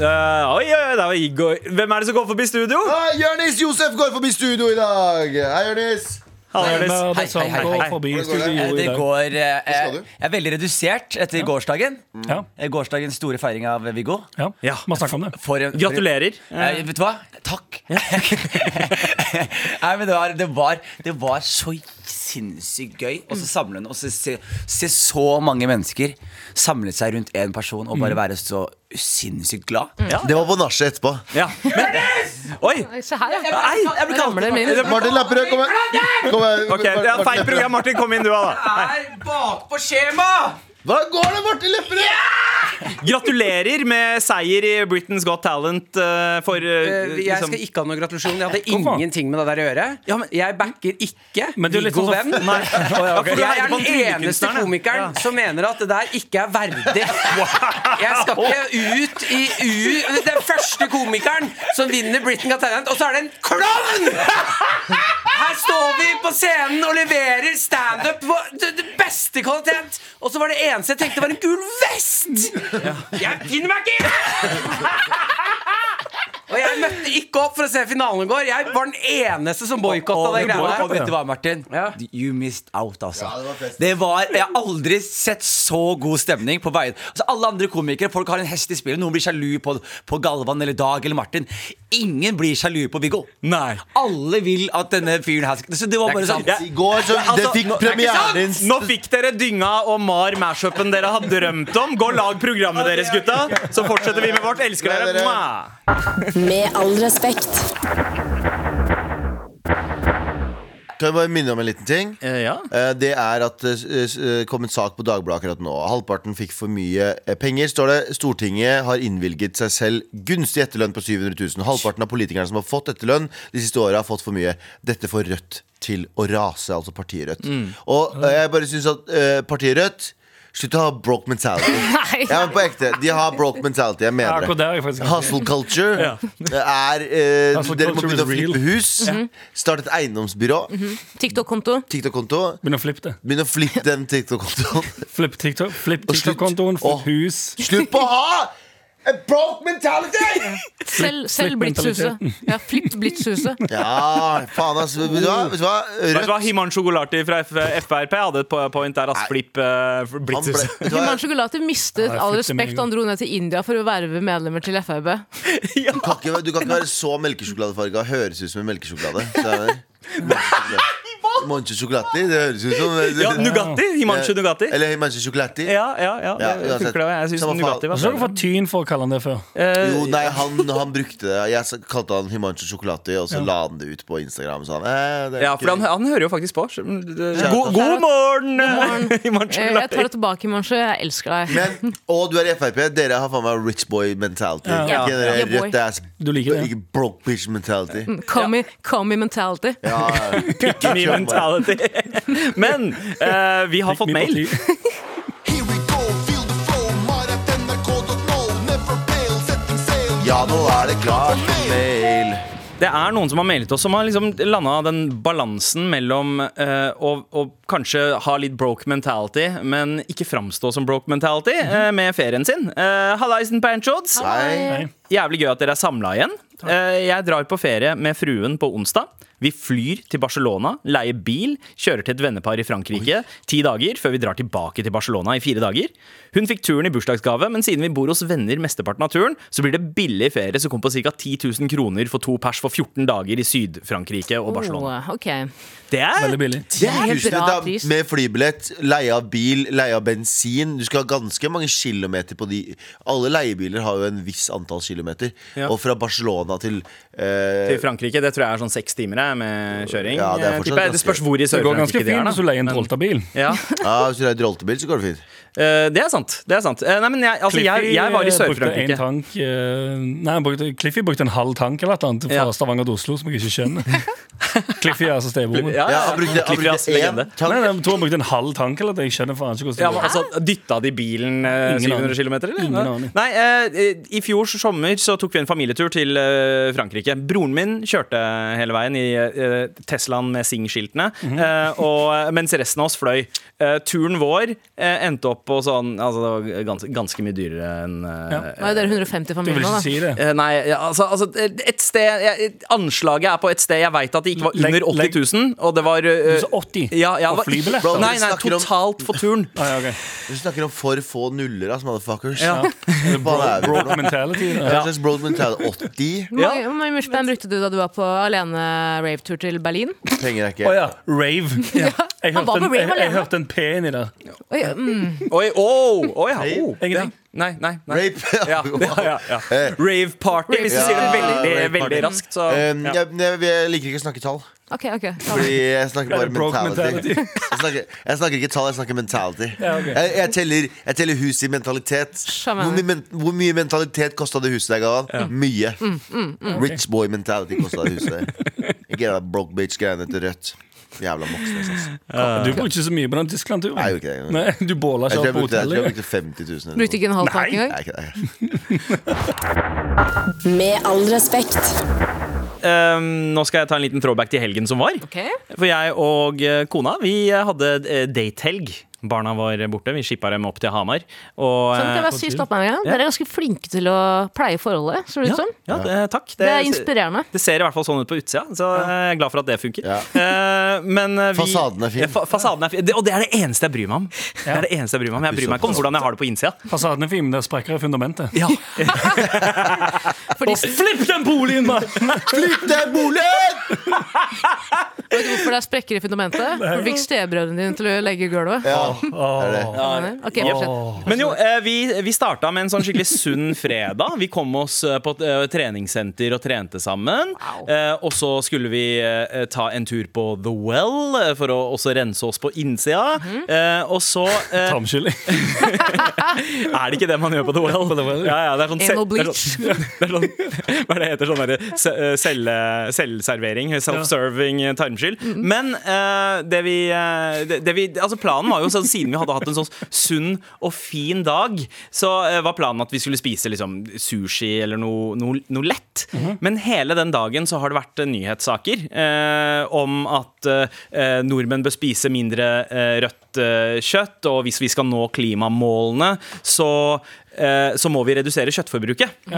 Speaker 5: Eh, oi, oi, oi, det er jo Igor. Hvem er det som går forbi studio?
Speaker 4: Hei, Ah, Jørnis Josef går forbi studio i dag! Hei, Jørnis!
Speaker 5: Hallo,
Speaker 3: Hvem er
Speaker 5: Jonis.
Speaker 3: det som
Speaker 7: Hei, hei, hei,
Speaker 3: går
Speaker 7: hei.
Speaker 3: forbi
Speaker 4: Hvordan går det?
Speaker 3: studio i
Speaker 7: Det
Speaker 3: dag?
Speaker 7: går eh,
Speaker 4: skal du?
Speaker 7: Jeg er veldig redusert etter gårsdagen.
Speaker 3: Ja,
Speaker 7: Eh, Gårsdagens store feiring av Viggo.
Speaker 3: ja.
Speaker 5: Ja.
Speaker 3: Vi har snakket om det.
Speaker 7: For en- for-
Speaker 5: Gratulerer.
Speaker 7: Eh, vet du hva? Takk. Nei, men det var, det, var, det var så sinnssykt gøy og så
Speaker 5: Mm.
Speaker 7: samlende å se, se, se så mange mennesker samle seg rundt én person og bare være så sinnssykt glad.
Speaker 4: Det var på nachet etterpå.
Speaker 5: Ja. Men, oi!
Speaker 2: Se her, ja.
Speaker 5: Nei, jeg blir kalt
Speaker 2: Ramler min.
Speaker 4: Martin Lapperød, kom her! Kom her.
Speaker 5: Ok, det er feil program. Martin, kom inn du òg, da.
Speaker 7: Er bakpå skjema!
Speaker 4: Hva går det, Martin Lepperød?
Speaker 5: Gratulerer med seier i Britain's Got Talent eh, for eh,
Speaker 8: Eh, Jeg
Speaker 5: liksom,
Speaker 8: skal ikke ha noen gratulasjon. Jeg hadde
Speaker 3: Hvorfor?
Speaker 8: ingenting med det der å gjøre. Jeg backer ikke
Speaker 3: Men det er litt
Speaker 8: Viggo
Speaker 3: sånn som-
Speaker 8: Venn.
Speaker 5: Nei. Ja, for du
Speaker 8: Jeg
Speaker 5: heide på
Speaker 8: er den eneste
Speaker 5: tryllekunstneren, ja.
Speaker 8: komikeren som mener at det der ikke er verdig. Jeg skal ikke ut i u... Den første komikeren som vinner Britain Got Talent, og så er det en klovn! Her står vi på scenen og leverer standup på det det beste kvalitet, og så var det eneste jeg tenkte, var en gul vest! Jeg finner meg ikke i! Og jeg møtte ikke opp for å se finalen i går. Jeg var den eneste som boikotta
Speaker 7: Og- og- Og
Speaker 8: de
Speaker 7: vet
Speaker 8: greiene
Speaker 7: du
Speaker 8: der.
Speaker 7: hva, Martin?
Speaker 8: Ja.
Speaker 7: You missed out, altså.
Speaker 4: Ja, det var fest.
Speaker 7: det var, jeg har aldri sett så god stemning på veien. Altså, alle andre komikere folk har en hest i spillet. Noen blir sjalu på, på Galvan eller Dag eller Martin. Ingen blir sjalu på Viggo.
Speaker 5: Nei.
Speaker 7: Alle vil at denne fyren her skal så Det var
Speaker 8: Det er
Speaker 7: bare
Speaker 8: ikke
Speaker 7: sånn
Speaker 8: sant.
Speaker 4: I går så
Speaker 7: Altså,
Speaker 4: det fikk
Speaker 7: nå- det er ikke
Speaker 4: premieren
Speaker 7: sant!
Speaker 4: din.
Speaker 5: Nå fikk dere dynga og mar mashupen dere har drømt om. Gå og lag programmet deres, gutta. Så fortsetter vi med vårt. Elsker dere. Mwah.
Speaker 1: Med all respekt.
Speaker 4: Kan jeg bare minne om en liten ting?
Speaker 5: Eh, Ja.
Speaker 4: Eh, Det er at det kom en sak på Dagbladet akkurat nå. Halvparten fikk for mye eh, penger, står det. Stortinget har innvilget seg selv gunstig etterlønn på 700 000. Halvparten av politikerne som har fått etterlønn de siste åra, har fått for mye. Dette får Rødt til å rase, altså partiet Rødt.
Speaker 5: Mm.
Speaker 4: Og eh, jeg bare syns at eh, partiet Rødt Slutt å ha broke mentality.
Speaker 2: Nei.
Speaker 4: Ja, men på ekte, De har broke mentality. Jeg
Speaker 3: Ja,
Speaker 4: mener
Speaker 3: akkurat
Speaker 4: det.
Speaker 3: der er jeg faktisk enig.
Speaker 4: Hustle culture er eh,
Speaker 3: Hustle
Speaker 4: Dere må
Speaker 3: culture
Speaker 4: begynne å
Speaker 3: is real.
Speaker 4: flippe hus. Starte et eiendomsbyrå.
Speaker 5: Mhm.
Speaker 2: TikTok-konto.
Speaker 4: TikTok-konto.
Speaker 3: Begynn å flippe det.
Speaker 4: Begynn å flippe den TikTok-kontoen.
Speaker 3: Flipp TikTok- flipp
Speaker 4: Og slutt.
Speaker 3: TikTok-kontoen, flipp
Speaker 4: Åh.
Speaker 3: hus.
Speaker 4: Slutt på å ha a broke mentality!
Speaker 2: Selv, selv
Speaker 3: flipp-mentalitet.
Speaker 2: Blitzhuset. Ja, flipp Blitzhuset.
Speaker 4: Ja, faen, ass. Vet du hva? Vet du hva?
Speaker 5: Vet du hva,
Speaker 4: Rødt
Speaker 5: Himanshu Gulati fra F Frp hadde et po- point der. Altså, flipp eh,
Speaker 4: han ble,
Speaker 5: Blitzhuset.
Speaker 4: vet du hva?
Speaker 2: Himan Chocolate mistet
Speaker 3: Ja, det er
Speaker 2: all
Speaker 3: flipp til meg,
Speaker 2: respekt da han dro ned til India for å verve medlemmer til FrB.
Speaker 4: Du kan ikke, du kan ikke være så melkesjokoladefarga. Høres ut som en melkesjokolade. Så er det- Monche Chocolati. Det høres ut som
Speaker 5: Ja, Nugatti. Himanshu Nugatti.
Speaker 4: Eller Monche Chocolati.
Speaker 5: Ja, ja, ja.
Speaker 4: Ja,
Speaker 5: det
Speaker 4: uansett.
Speaker 5: funker det. Jeg syns
Speaker 4: Samme faen.
Speaker 5: Nugatti
Speaker 3: Har ikke
Speaker 5: var
Speaker 3: dere fått tyn for å kalle han det før?
Speaker 4: Jo, nei, han, han brukte det. Jeg s- kalte han Himancho Chocolati, og så la han det ut på Instagram. Så han, eh, det er
Speaker 5: Ja,
Speaker 4: ikke-
Speaker 5: for han, han hører jo faktisk på. Så- God, god morgen! Himanshu
Speaker 2: Eh, Jeg
Speaker 5: Gulati.
Speaker 2: tar det tilbake, Himanshu. Jeg elsker deg.
Speaker 4: Men, og du er i Frp. Dere har faen meg rich boy mentality.
Speaker 2: Ja.
Speaker 4: Ikke dere
Speaker 2: Ja, boy. Mm.
Speaker 4: rødt ass
Speaker 3: Du liker det.
Speaker 4: Ikke broke bitch mentality.
Speaker 2: Call me, call me mentality.
Speaker 4: Ja, ja.
Speaker 5: Pick me mentality. Men eh, vi har fått
Speaker 3: Mye
Speaker 5: mail.
Speaker 3: parti.
Speaker 4: Ja, nå er det klart for mail.
Speaker 5: Det er noen som har mailet oss som har liksom landa den balansen mellom eh, å, å kanskje ha litt broke mentality, men ikke framstå som broke mentality eh, med ferien sin. Eh, Hallaisen Panchods.
Speaker 4: Nei.
Speaker 5: Jævlig gøy at dere er samla igjen. Eh, jeg drar på ferie med fruen på onsdag. Vi flyr til Barcelona, leier bil, kjører til et vennepar i Frankrike ti dager før vi drar tilbake til Barcelona i fire dager. Hun fikk turen i bursdagsgave, men siden vi bor hos venner mesteparten av turen, så blir det billig ferie som kom på ca. 10 000 kroner for to pers for 14 dager i Syd-Frankrike og Barcelona.
Speaker 2: Oh, ok.
Speaker 5: Det er
Speaker 3: Veldig billig.
Speaker 2: Det er
Speaker 4: Tusen
Speaker 2: bra
Speaker 4: da,
Speaker 2: pris.
Speaker 4: med flybillett, leie av bil, leie av bensin. Du skal ha ganske mange kilometer på de Alle leiebiler har jo en viss antall kilometer. Og fra Barcelona til eh,
Speaker 5: til Frankrike. Det tror jeg er sånn seks timer jeg, med kjøring.
Speaker 4: Ja, det er
Speaker 5: eh,
Speaker 4: fortsatt
Speaker 5: tipper jeg. det
Speaker 4: ganske-
Speaker 5: spørs hvor i
Speaker 3: Det går ganske
Speaker 5: Sør-Frankrike de er.
Speaker 3: fint
Speaker 5: da.
Speaker 3: hvis du leier en Drolta-bil.
Speaker 5: Ja.
Speaker 4: ja, Hvis du reier rollebil, så går det fint.
Speaker 5: Eh, det er sant. Det er sant. Eh, nei, men jeg, altså, jeg, jeg var i
Speaker 3: Cliffy, eh, brukte en
Speaker 5: Sør-Frankrike.
Speaker 3: tank, eh, Nei, han brukte, Cliffy brukte en halv tank eller et eller annet fra
Speaker 5: Ja.
Speaker 3: Stavanger til Oslo, som jeg ikke skjønner. Cliffy er altså stebroren min.
Speaker 5: Ja,
Speaker 4: Ja, han brukte, han
Speaker 5: Cliffy, ass,
Speaker 4: brukte én
Speaker 5: legende.
Speaker 4: tank.
Speaker 3: Nei, nei, jeg tror han brukte en halv tank eller noe. Jeg skjønner faen ikke hvordan
Speaker 5: Ja,
Speaker 3: det
Speaker 5: men,
Speaker 3: går.
Speaker 5: altså, Dytta de bilen eh,
Speaker 3: Ingen
Speaker 5: 700
Speaker 3: aning.
Speaker 5: km, eller?
Speaker 3: Ingen aning.
Speaker 5: Nei, eh, I fjor sommer så tok vi en familietur til eh, Frankrike. Broren min kjørte hele veien i eh, Teslaen med Sing-skiltene,
Speaker 3: Mhm.
Speaker 5: eh, og- mens resten av oss fløy. Eh, turen vår eh, endte opp på sånn altså, Det var ganske, ganske mye dyrere enn eh,
Speaker 3: Ja.
Speaker 2: Nå er jo dere 150
Speaker 3: Du vil
Speaker 2: familier
Speaker 3: ikke
Speaker 2: nå, da.
Speaker 3: si det.
Speaker 5: eh, Nei, ja, altså, altså et sted, jeg, Anslaget er på et sted jeg veit at det ikke var
Speaker 3: Legg-
Speaker 5: under 80 000, og det var eh,
Speaker 3: Så 80
Speaker 5: ja, ja,
Speaker 3: og
Speaker 5: det var-
Speaker 3: flybillett.
Speaker 4: Bro,
Speaker 5: Nei,
Speaker 4: vi
Speaker 5: nei,
Speaker 4: snakker om-
Speaker 5: totalt for turen.
Speaker 3: Ah, ja, ok.
Speaker 4: Du snakker om for få nuller, ass, motherfuckers.
Speaker 5: Ja.
Speaker 4: Hva faen er vi for
Speaker 3: Broke
Speaker 4: noe?
Speaker 3: mentality.
Speaker 4: Hva
Speaker 3: da.
Speaker 4: slags broad mentality? 80?
Speaker 2: Hvor mange- hvor mange mushband brukte du da du var på alene-ravetur til Berlin?
Speaker 4: Penger er
Speaker 3: Å
Speaker 4: ikke
Speaker 3: ja. Rave. Jeg
Speaker 2: var
Speaker 3: hørte
Speaker 2: på
Speaker 3: en,
Speaker 2: rave
Speaker 3: jeg, jeg
Speaker 2: alene.
Speaker 3: hørte en P inni der.
Speaker 2: Oi, mm.
Speaker 5: Oi, oh, oh, ja, oh.
Speaker 3: Ingenting.
Speaker 5: nei, nei, nei.
Speaker 4: Rape.
Speaker 5: Ja, ja, ja, ja.
Speaker 4: Eh.
Speaker 5: Rave party, hvis du
Speaker 4: Ja,
Speaker 5: sier det veldig,
Speaker 4: rave party.
Speaker 5: veldig raskt. Så,
Speaker 4: Um,
Speaker 5: ja.
Speaker 4: jeg, jeg, jeg liker ikke å snakke tall,
Speaker 2: Ok, ok ta det.
Speaker 4: fordi jeg snakker bare
Speaker 3: Broke
Speaker 4: mentality.
Speaker 3: mentality.
Speaker 4: Jeg snakker, jeg snakker ikke tall, jeg snakker mentality.
Speaker 3: Ja, ok.
Speaker 4: jeg, jeg, teller, jeg teller hus i mentalitet.
Speaker 2: Skjønner.
Speaker 4: Hvor, mye men, hvor mye mentalitet kosta det huset der, Galvan? Mye.
Speaker 2: Mm,
Speaker 4: Rich boy mentality kosta det huset der. Ikke det der broke bitch-greiene til Rødt. Jævla Moxnes, altså.
Speaker 3: Du brukte ikke så mye på den Tyskland-turen.
Speaker 4: Nei, jeg gjorde ikke det.
Speaker 3: Nei, Du båla
Speaker 4: Jeg tror jeg
Speaker 3: ikke opp på
Speaker 4: brukte, jeg tror jeg
Speaker 3: hotellet.
Speaker 4: brukte 50 000. eller
Speaker 2: Brukte ikke en halv tanke
Speaker 4: noe.
Speaker 2: engang?
Speaker 4: Nei, ikke det.
Speaker 1: Med all respekt.
Speaker 5: Um, nå skal jeg ta en liten throwback til helgen som var.
Speaker 2: Ok.
Speaker 5: For jeg og eh, kona vi eh, hadde eh, datehelg. Barna var borte. Vi shippa dem opp til Hamar. Og,
Speaker 2: Sånn, kan jeg
Speaker 5: eh,
Speaker 2: bare si stopp meg en gang? Dere er ganske flinke til å pleie forholdet, ser det ut som.
Speaker 5: ja, det, takk.
Speaker 2: liksom? Det er inspirerende.
Speaker 5: Det ser i hvert fall sånn ut på utsida, så eh, jeg er glad for at det funker.
Speaker 4: Ja.
Speaker 5: Eh, men, eh, vi,
Speaker 4: Fasaden er fin.
Speaker 5: Ja, Fa fasaden er fin. Det, og det er det eneste jeg bryr meg om. Det er det eneste Jeg bryr meg om Jeg bryr meg ikke om hvordan jeg har det på innsida.
Speaker 3: Fasaden er fin, men det sprekker i fundamentet.
Speaker 5: Ja.
Speaker 2: Fordi,
Speaker 3: Flipp den boligen, mann!
Speaker 4: Flytt deg, boligen!
Speaker 2: vet du hvorfor det er sprekker i fundamentet? For du fikk stebrødrene dine til å legge gulvet.
Speaker 4: Ja,
Speaker 3: Åh.
Speaker 4: det er det.
Speaker 2: Ok, fortsett.
Speaker 5: Men jo, eh, vi, vi starta med en sånn skikkelig sunn fredag. Vi kom oss eh, på et eh, treningssenter og trente sammen. Eh, og så skulle vi eh, ta en tur på The Well eh, for å også rense oss på innsida.
Speaker 4: Mhm.
Speaker 5: Eh, og så eh,
Speaker 3: Tarmskylling.
Speaker 5: er det ikke det man gjør på The Well? Ja, ja, det er sånn
Speaker 2: Anal
Speaker 5: se- Det er sånn, det er sånn, hva er det heter sånn derre se- eh, selve- Selvservering. Self-serving eh, tarmskyld. Men eh, det vi, eh, det, det vi Altså Planen var jo sånn siden vi hadde hatt en sånn sunn og fin dag, så eh, var planen at vi skulle spise liksom sushi eller noe, noe, noe lett. Men hele den dagen så har det vært eh, nyhetssaker eh, om at eh, nordmenn bør spise mindre eh, rødt eh, kjøtt, og hvis vi skal nå klimamålene, så eh, så må vi redusere kjøttforbruket.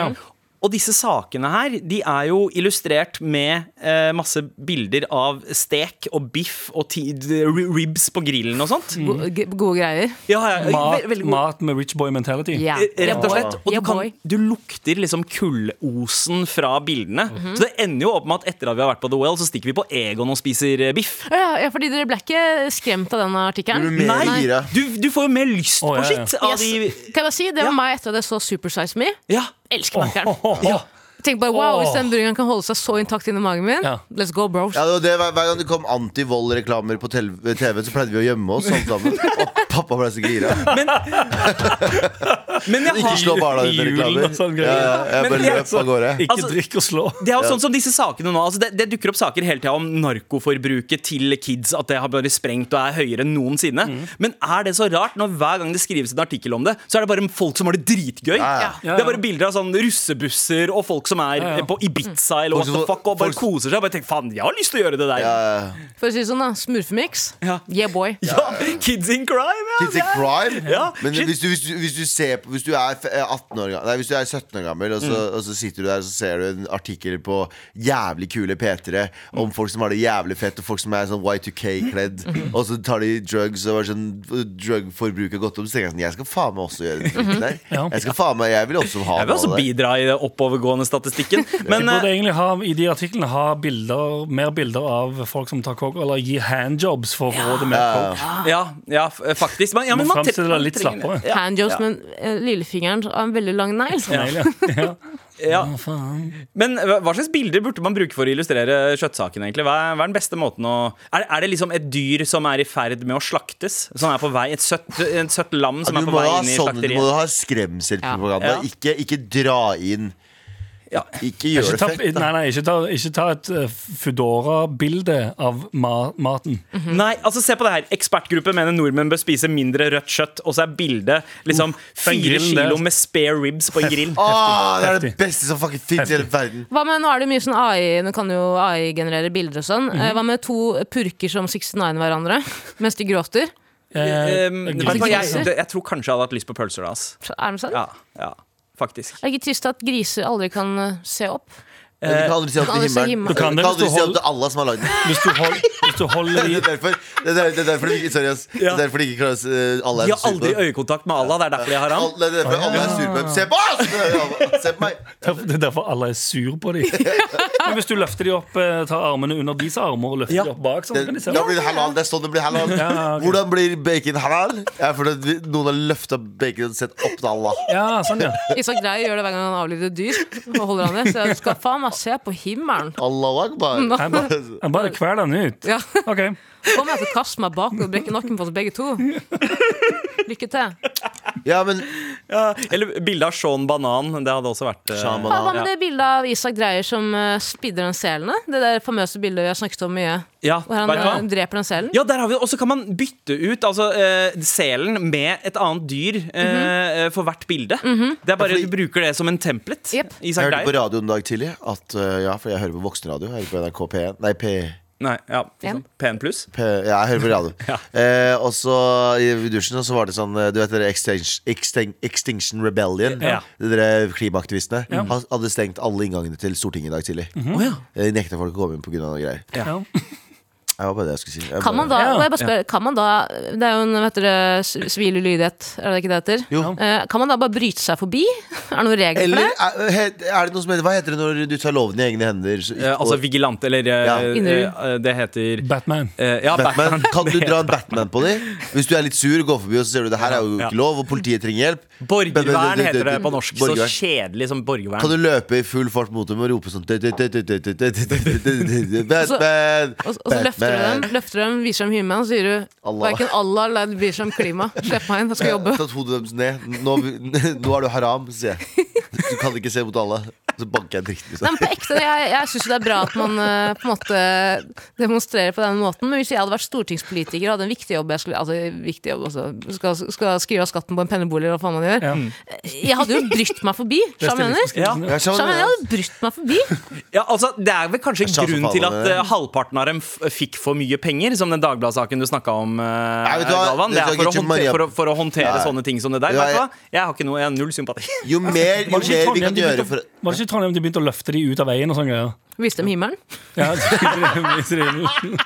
Speaker 5: Og disse sakene her de er jo illustrert med eh, masse bilder av stek og biff og ti d- ribs på grillen og sånt.
Speaker 2: Go- g- Gode greier.
Speaker 5: Ja, ja, ja,
Speaker 3: Mat,
Speaker 5: ve- veldig god. Eh,
Speaker 3: mat med rich boy mentality.
Speaker 2: Ja.
Speaker 5: Rett og slett. Og du,
Speaker 2: Ja,
Speaker 5: kan,
Speaker 2: boy.
Speaker 5: du lukter liksom kullosen fra bildene.
Speaker 2: Mhm.
Speaker 5: Så det ender jo opp med at etter at vi har vært på The Well, så stikker vi på Egon og spiser eh, biff.
Speaker 2: Ja, ja, fordi dere ble ikke skremt av den artikkelen?
Speaker 4: Blir du mer
Speaker 2: Nei.
Speaker 4: gira?
Speaker 5: Du, du får jo mer lyst
Speaker 3: Å, ja,
Speaker 5: på
Speaker 3: ja.
Speaker 5: sitt av de
Speaker 2: Yes. Kan jeg bare si, Det var
Speaker 5: Ja.
Speaker 2: meg etter at jeg så Super Size Me.
Speaker 5: Ja.
Speaker 2: Elsker makkeren.
Speaker 3: Åh, åh.
Speaker 2: Tenk bare, wow,
Speaker 3: Åh.
Speaker 2: Hvis den burgeren kan holde seg så intakt inni magen min,
Speaker 3: Ja.
Speaker 2: let's go, bros.
Speaker 4: Ja, det var det, hver, hver gang det kom antivold-reklamer på tel- TV, så pleide vi å gjemme oss alle sammen. Og pappa ble så gira.
Speaker 5: Men jeg
Speaker 4: Ikke slå barna dine
Speaker 3: Julen
Speaker 4: reklamer.
Speaker 3: og sånn greier.
Speaker 4: Ja, ja, jeg
Speaker 5: Men
Speaker 4: bare
Speaker 5: det er
Speaker 4: løp av gårde.
Speaker 3: Ikke
Speaker 5: Altså-
Speaker 3: drikk og slå.
Speaker 5: Det er jo sånn som disse sakene nå altså det, det dukker opp saker hele tida om narkoforbruket til kids. At det har bare sprengt og er høyere enn noensinne.
Speaker 4: Mm.
Speaker 5: Men er det så rart når hver gang det skrives en artikkel om det, så er det bare folk som har det dritgøy?
Speaker 4: Ja, ja.
Speaker 5: Det er bare bilder av sånn russebusser og folk som er
Speaker 3: Ja, ja.
Speaker 5: eh, på Ibiza eller
Speaker 4: Folk
Speaker 5: what the
Speaker 4: som-
Speaker 5: fuck og bare
Speaker 4: folk-
Speaker 5: koser seg. Bare tenk, faen, jeg har lyst til å gjøre det der.
Speaker 4: Ja,
Speaker 5: Ja,
Speaker 4: ja.
Speaker 2: For å si det sånn, da. Smurfemix.
Speaker 5: Ja.
Speaker 2: Yeah, boy.
Speaker 5: Kids in crime! Ja,
Speaker 4: Kids in crime?
Speaker 5: Ja,
Speaker 4: Men
Speaker 5: shit.
Speaker 4: hvis du, hvis, du, hvis, du ser, på- hvis du er f- eh, 18 år, ga- nei, hvis du er 17 år gammel, og så,
Speaker 5: Mm.
Speaker 4: og så sitter du der og så ser du en artikkel på jævlig kule P3
Speaker 5: Mm.
Speaker 4: om folk som har det jævlig fett, og folk som er sånn Y2K-kledd, og så tar de drugs, og er sånn drugforbruket har gått opp, så tenker jeg sånn Jeg skal faen meg også gjøre det trikket der.
Speaker 3: Ja.
Speaker 4: Jeg skal faen meg, jeg vil også ha
Speaker 5: Mhm. Jeg vil
Speaker 4: noe
Speaker 5: også
Speaker 4: av det.
Speaker 5: bidra i den oppovergående statistikken.
Speaker 3: Vi
Speaker 5: Men
Speaker 3: burde
Speaker 5: eh,
Speaker 3: egentlig ha, i de artiklene ha bilder, mer bilder av folk som tar coke, eller gir handjobs for å få råd med coke.
Speaker 5: ja, ja, f- faktisk. Men, ja, men
Speaker 3: Må
Speaker 5: man
Speaker 3: fremstille det litt
Speaker 5: trenger-
Speaker 3: slappere.
Speaker 5: Ja,
Speaker 2: Handjobs med eh, lillefingeren av en veldig lang negl.
Speaker 3: Deilig, Ja.
Speaker 5: ja.
Speaker 3: Å, faen.
Speaker 5: Men hva hva slags bilder burde man bruke for å illustrere kjøttsaken? egentlig? Hva er, hva er den beste måten å er, er det liksom et dyr som er i ferd med å slaktes? Som er på vei, Et søtt, et søtt lam som
Speaker 4: Du
Speaker 5: er på
Speaker 4: må
Speaker 5: vei
Speaker 4: ha
Speaker 5: inn i
Speaker 4: sånn, du må
Speaker 5: slakteriet?
Speaker 4: ha skremselpropaganda.
Speaker 5: Ja.
Speaker 4: Ikke, ikke dra inn
Speaker 5: Ja.
Speaker 4: Ikke gjør
Speaker 3: Ikke
Speaker 4: det
Speaker 3: ta,
Speaker 4: fett.
Speaker 3: nei, nei, ikke ta, ikke ta et eh, Foodora-bilde av ma maten.
Speaker 5: Nei, altså se på det her. Ekspertgruppe mener nordmenn bør spise mindre rødt kjøtt. Og så er bildet liksom fire
Speaker 3: grillen der.
Speaker 5: kilo med spare ribs på en grill.
Speaker 4: Ah, Åh, det er det
Speaker 3: Heftig.
Speaker 4: beste som fucking fins i hele verden.
Speaker 2: Hva med, nå er det mye sånn AI, nå kan jo AI generere bilder og sånn.
Speaker 5: Mhm.
Speaker 2: Eh, Hva med to purker som 69 hverandre mens de gråter?
Speaker 3: Eh,
Speaker 5: Um,
Speaker 3: jeg
Speaker 5: vet
Speaker 3: gidder
Speaker 5: du hva,
Speaker 3: ikke.
Speaker 5: jeg, det- jeg tror kanskje jeg hadde hatt lyst på pølser da. ass.
Speaker 2: Er sånn? det sant?
Speaker 5: Ja, ja, faktisk.
Speaker 2: Er det ikke trist at griser aldri kan eh, se opp?
Speaker 4: Men Du kan aldri si opp til
Speaker 2: Aldri si
Speaker 4: himmelen.
Speaker 2: himmelen.
Speaker 4: Du kan
Speaker 3: Du kan det
Speaker 4: aldri
Speaker 3: hvis du
Speaker 4: si opp
Speaker 3: holder-
Speaker 4: til Allah som har lagd den.
Speaker 3: Hvis du, hold, hvis du holder i
Speaker 4: Det er derfor det er, det er derfor de ikke Sorry, ass. Det
Speaker 5: Ja.
Speaker 4: er derfor de ikke klarer å s- eh, Alle
Speaker 5: De
Speaker 4: er sur
Speaker 5: har
Speaker 4: på
Speaker 5: aldri
Speaker 4: dem.
Speaker 5: øyekontakt med Allah. Det er derfor de har ham.
Speaker 4: Alle- Det er derfor alle er sur på dem. Se på oss! Se på meg!
Speaker 3: Det er derfor alle er sur på dem. Men hvis du løfter dem opp, eh, tar armene under deres armer og løfter
Speaker 5: Ja.
Speaker 3: dem opp bak, sånn
Speaker 4: Det,
Speaker 3: kan de se
Speaker 4: da blir det halal. Det er sånn det blir halal.
Speaker 3: Ja, ok.
Speaker 4: Hvordan blir bacon halal? Ja, fordi at vi- noen har løfta bacon og sett opp til Allah.
Speaker 3: Ja, sånn, ja.
Speaker 2: Isak Dreyer gjør det hver gang han avlider dyr. Og holder han i Så jeg skal faen meg se på himmelen.
Speaker 4: Allah akbar.
Speaker 3: Jeg bare, jeg bare kveler den ut.
Speaker 2: Ja.
Speaker 3: OK.
Speaker 2: Kommer jeg til å kaste meg bak og brekke nakken på oss begge to? Lykke til.
Speaker 4: Ja, men
Speaker 5: Ja. Eller bilde av Sean Banan. Det hadde også vært eh,
Speaker 4: Sean
Speaker 2: Hva
Speaker 4: Banan.
Speaker 2: med det bildet av Isak Dreyer som eh, spidder den selen? da? Det der famøse bildet vi har snakket om mye.
Speaker 5: Ja,
Speaker 2: Hvor han
Speaker 5: vet du hva?
Speaker 2: eh, dreper den selen?
Speaker 5: Ja, der har vi det. Og så kan man bytte ut altså, eh, selen med et annet dyr eh, for hvert bilde. Det er bare
Speaker 4: Ja, fordi-
Speaker 5: Du bruker det som en templet.
Speaker 2: Jep.
Speaker 5: Isak
Speaker 4: Jeg hørte på
Speaker 5: Dreyer.
Speaker 4: radioen en dag tidlig at eh, Ja, for jeg hører på voksenradio. Jeg hører på NRK P1. Nei, P...
Speaker 5: Nei, ja, liksom. P1 pluss.
Speaker 4: P ja, jeg hører på radio. eh, og så i dusjen og så var det sånn eh, Du vet dere Extinction, Extin- Extinction Rebellion?
Speaker 5: Ja.
Speaker 4: De dere klimaaktivistene? Han hadde stengt alle inngangene til Stortinget i dag tidlig.
Speaker 5: Mhm.
Speaker 4: Eh, De nekta folk å komme inn pga. noen greier.
Speaker 3: Ja.
Speaker 4: Det var bare det jeg skulle si. Jeg
Speaker 2: Kan man da,
Speaker 4: bare-
Speaker 2: og jeg bare spør, kan man da Det er jo en vet dere, s- sivil ulydighet, er det ikke det heter?
Speaker 4: Jo.
Speaker 2: Eh, Kan man da bare bryte seg forbi? Er det noen regler
Speaker 4: Eller
Speaker 2: for det?
Speaker 4: er, he- er det noe som heter Hva heter det når du tar loven i egne hender? så ikke-
Speaker 5: Eh, altså vigilant, eller eh,
Speaker 4: Ja.
Speaker 5: eh, eh, Det heter
Speaker 3: Batman.
Speaker 5: eh, Ja,
Speaker 4: Batman.
Speaker 5: Batman.
Speaker 4: Kan du dra en Batman på dem? Hvis du er litt sur, går forbi og så ser du det her er jo
Speaker 5: Ja.
Speaker 4: ikke lov, og politiet trenger hjelp.
Speaker 5: Borgervern heter det på norsk. Så
Speaker 4: Borgervern.
Speaker 5: kjedelig som borgervern.
Speaker 4: Kan du løpe i full fart mot dem og rope sånn Batman!
Speaker 2: Og, og så løfter du dem, løfter dem, viser dem himmelen, og så sier du
Speaker 4: Allah.
Speaker 2: verken Allah eller bryr seg om klima. Slipp meg inn, jeg skal jobbe.
Speaker 4: Tatt hodet deres ned. Nå, nå er du haram, sier jeg. Du kan ikke se mot alle. Så banker jeg
Speaker 2: Nei,
Speaker 4: dritten i seg.
Speaker 2: men på ekte, Jeg, jeg syns det er bra at man eh, på en måte demonstrerer på den måten, men hvis jeg hadde vært stortingspolitiker og hadde en viktig jobb Jeg skulle, altså, viktig jobb også, skal, skal skrive av skatten på en pennebolig eller hva faen man gjør Eh,
Speaker 3: Ja.
Speaker 2: Jeg hadde jo brytt meg forbi. Skjønner du hva jeg mener?
Speaker 5: ja.
Speaker 4: Ja, skjønner
Speaker 2: Skjønner du hva jeg mener? Jeg
Speaker 4: du?
Speaker 2: hadde brytt meg forbi.
Speaker 5: Ja, altså, det er vel kanskje
Speaker 4: sa så
Speaker 5: grunnen til at
Speaker 4: faen, det-
Speaker 5: eh, halvparten av dem f fikk for mye penger, som den Dagbladet-saken du snakka om, eh,
Speaker 4: vet du hva?
Speaker 5: Galvan. Det
Speaker 4: Det
Speaker 5: er
Speaker 4: skal
Speaker 5: for å
Speaker 4: ikke
Speaker 5: håndtere,
Speaker 4: Maria-
Speaker 5: for å, for å håndtere
Speaker 4: Nei.
Speaker 5: sånne ting som det der.
Speaker 4: Ja,
Speaker 5: Vet
Speaker 4: jeg-
Speaker 5: du hva? Jeg har ikke noe, jeg har null sympati.
Speaker 4: Jo mer, jo mer
Speaker 3: Var det ikke i
Speaker 4: vi
Speaker 3: Trondheim
Speaker 4: kan
Speaker 3: de
Speaker 4: gjøre
Speaker 3: begynte
Speaker 4: for
Speaker 3: å- var det ikke i Trondheim de begynte å løfte de ut av veien og sånne greier?
Speaker 2: Viste dem himmelen.
Speaker 3: Ja, viser de himmelen.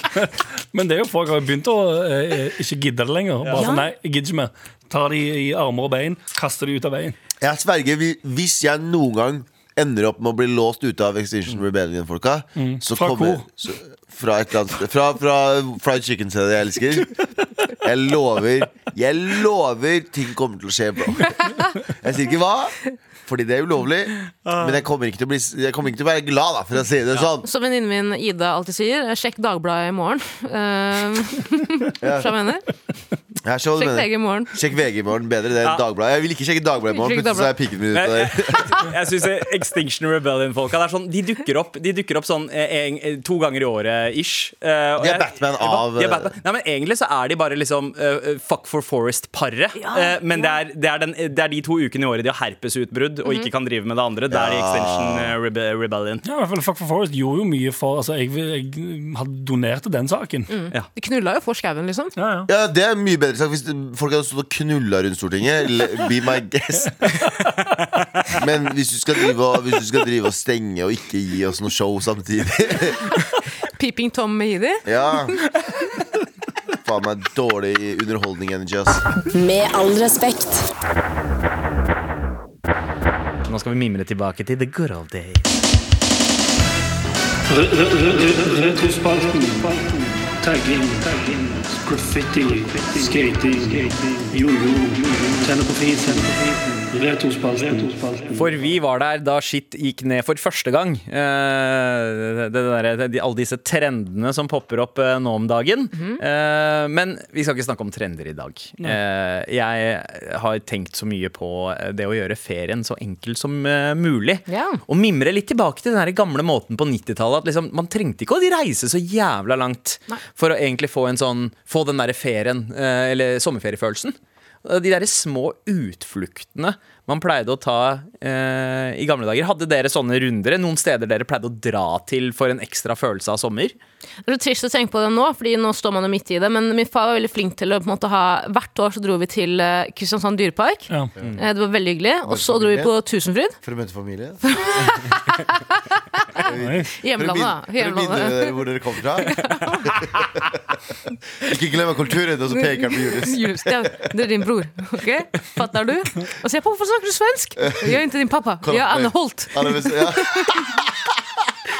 Speaker 3: Men det er jo folk har jo begynt å eh, ikke gidde det lenger. Bare sånn, nei, jeg gidder ikke mer. Tar de i armer og bein, kaster de ut av veien.
Speaker 4: Jeg sverger, vi- hvis jeg noen gang ender opp med å bli låst ute av Extinction Rebellion-folka så
Speaker 3: Mm. Fra
Speaker 4: kommer-
Speaker 3: hvor?
Speaker 4: så- Fra et eller annet sted. Fra, fra fried chicken-stedet jeg elsker. Jeg lover Jeg lover ting kommer til å skje, bro. Jeg sier ikke hva, fordi det er ulovlig.
Speaker 3: Ah.
Speaker 4: Men jeg kommer ikke til å, bli, jeg kommer ikke til å være glad, da, for å si det sånn.
Speaker 2: Som venninnen min Ida alltid sier, Eh, sjekk Dagbladet i morgen. Uh, Skjønner du hva jeg mener?
Speaker 4: Jeg skjønner hva
Speaker 2: Sjekk
Speaker 4: du mener.
Speaker 2: VG i morgen.
Speaker 4: Sjekk VG i morgen. Bedre det enn Dagbladet. Jeg vil ikke sjekke Dagbladet i morgen.
Speaker 2: Ikke sjekke
Speaker 4: Plutselig så er pikken min ute der.
Speaker 5: Jeg syns Extinction Rebellion-folka det er sånn, de dukker opp, de dukker opp sånn eh, en, eh, to ganger i året ish. Eh, og
Speaker 4: De er
Speaker 5: jeg-
Speaker 4: Batman av, eh,
Speaker 5: de er Batman. Nei, men Egentlig så er de bare liksom eh, Fuck for Forest-paret. Eh, men det, er, det, er den, det er de to ukene i året de har herpesutbrudd og ikke kan drive med det andre. Det er de Extinction eh, Rebe Rebellion.
Speaker 3: Ja, i hvert fall Fuck for Forest gjorde jo mye for altså, jeg, jeg hadde donert til den saken.
Speaker 4: Mm.
Speaker 2: De knulla jo for skauen, liksom.
Speaker 3: Ja, ja.
Speaker 4: Ja, Det er mye bedre sagt hvis folk hadde stått og knulla rundt Stortinget. le- Be my guest. Men hvis du skal drive og, hvis du skal drive og stenge og ikke gi oss noe show samtidig
Speaker 2: Peeping Tom med Heidi.
Speaker 4: Ja Faen meg dårlig underholdning energy, ass.
Speaker 1: Med all respekt.
Speaker 5: Nå skal vi mimre tilbake til the good old days.
Speaker 9: Retrospalten. Tagging. Graffiti. Skating. Jojo. Tenne på fisen. Retrospalten.
Speaker 5: For vi var der da shit gikk ned for første gang. Eh, det, det derre- de, alle disse trendene som popper opp eh, nå om dagen. Eh, men vi skal ikke snakke om trender i dag. Eh, jeg har tenkt så mye på eh, det å gjøre ferien så enkel som eh, mulig.
Speaker 2: Ja.
Speaker 5: Og mimre litt tilbake til den her gamle måten på 90-tallet. At liksom, man trengte ikke å reise så jævla langt for å egentlig få, en sånn, få den derre ferien, eh, eller sommerferiefølelsen. Eh, De derre små utfluktene man pleide å ta eh, i gamle dager. Hadde dere sånne runder? Noen steder dere pleide å dra til for en ekstra følelse av sommer?
Speaker 2: Det er så trist å tenke på det nå, Fordi nå står man jo midt i det. Men min far var veldig flink til å på en måte ha Hvert år så dro vi til eh, Kristiansand dyrepark.
Speaker 3: Ja.
Speaker 2: Eh, Det var veldig hyggelig. Og så dro vi på Tusenfryd.
Speaker 4: For å møte familie? For å, minne,
Speaker 2: Hjemlandet, da.
Speaker 4: for å minne
Speaker 2: Hjemlandet.
Speaker 4: dere hvor dere kom fra? Ikke glem kulturen, og så peker han på Julius.
Speaker 2: Julius, ja, det er din bror. Ok, Fatter du? Og så jeg på, Hvorfor snakker du svensk? Jeg er ikke din pappa. Jeg er Anne Holt.
Speaker 4: Han er vist- ja.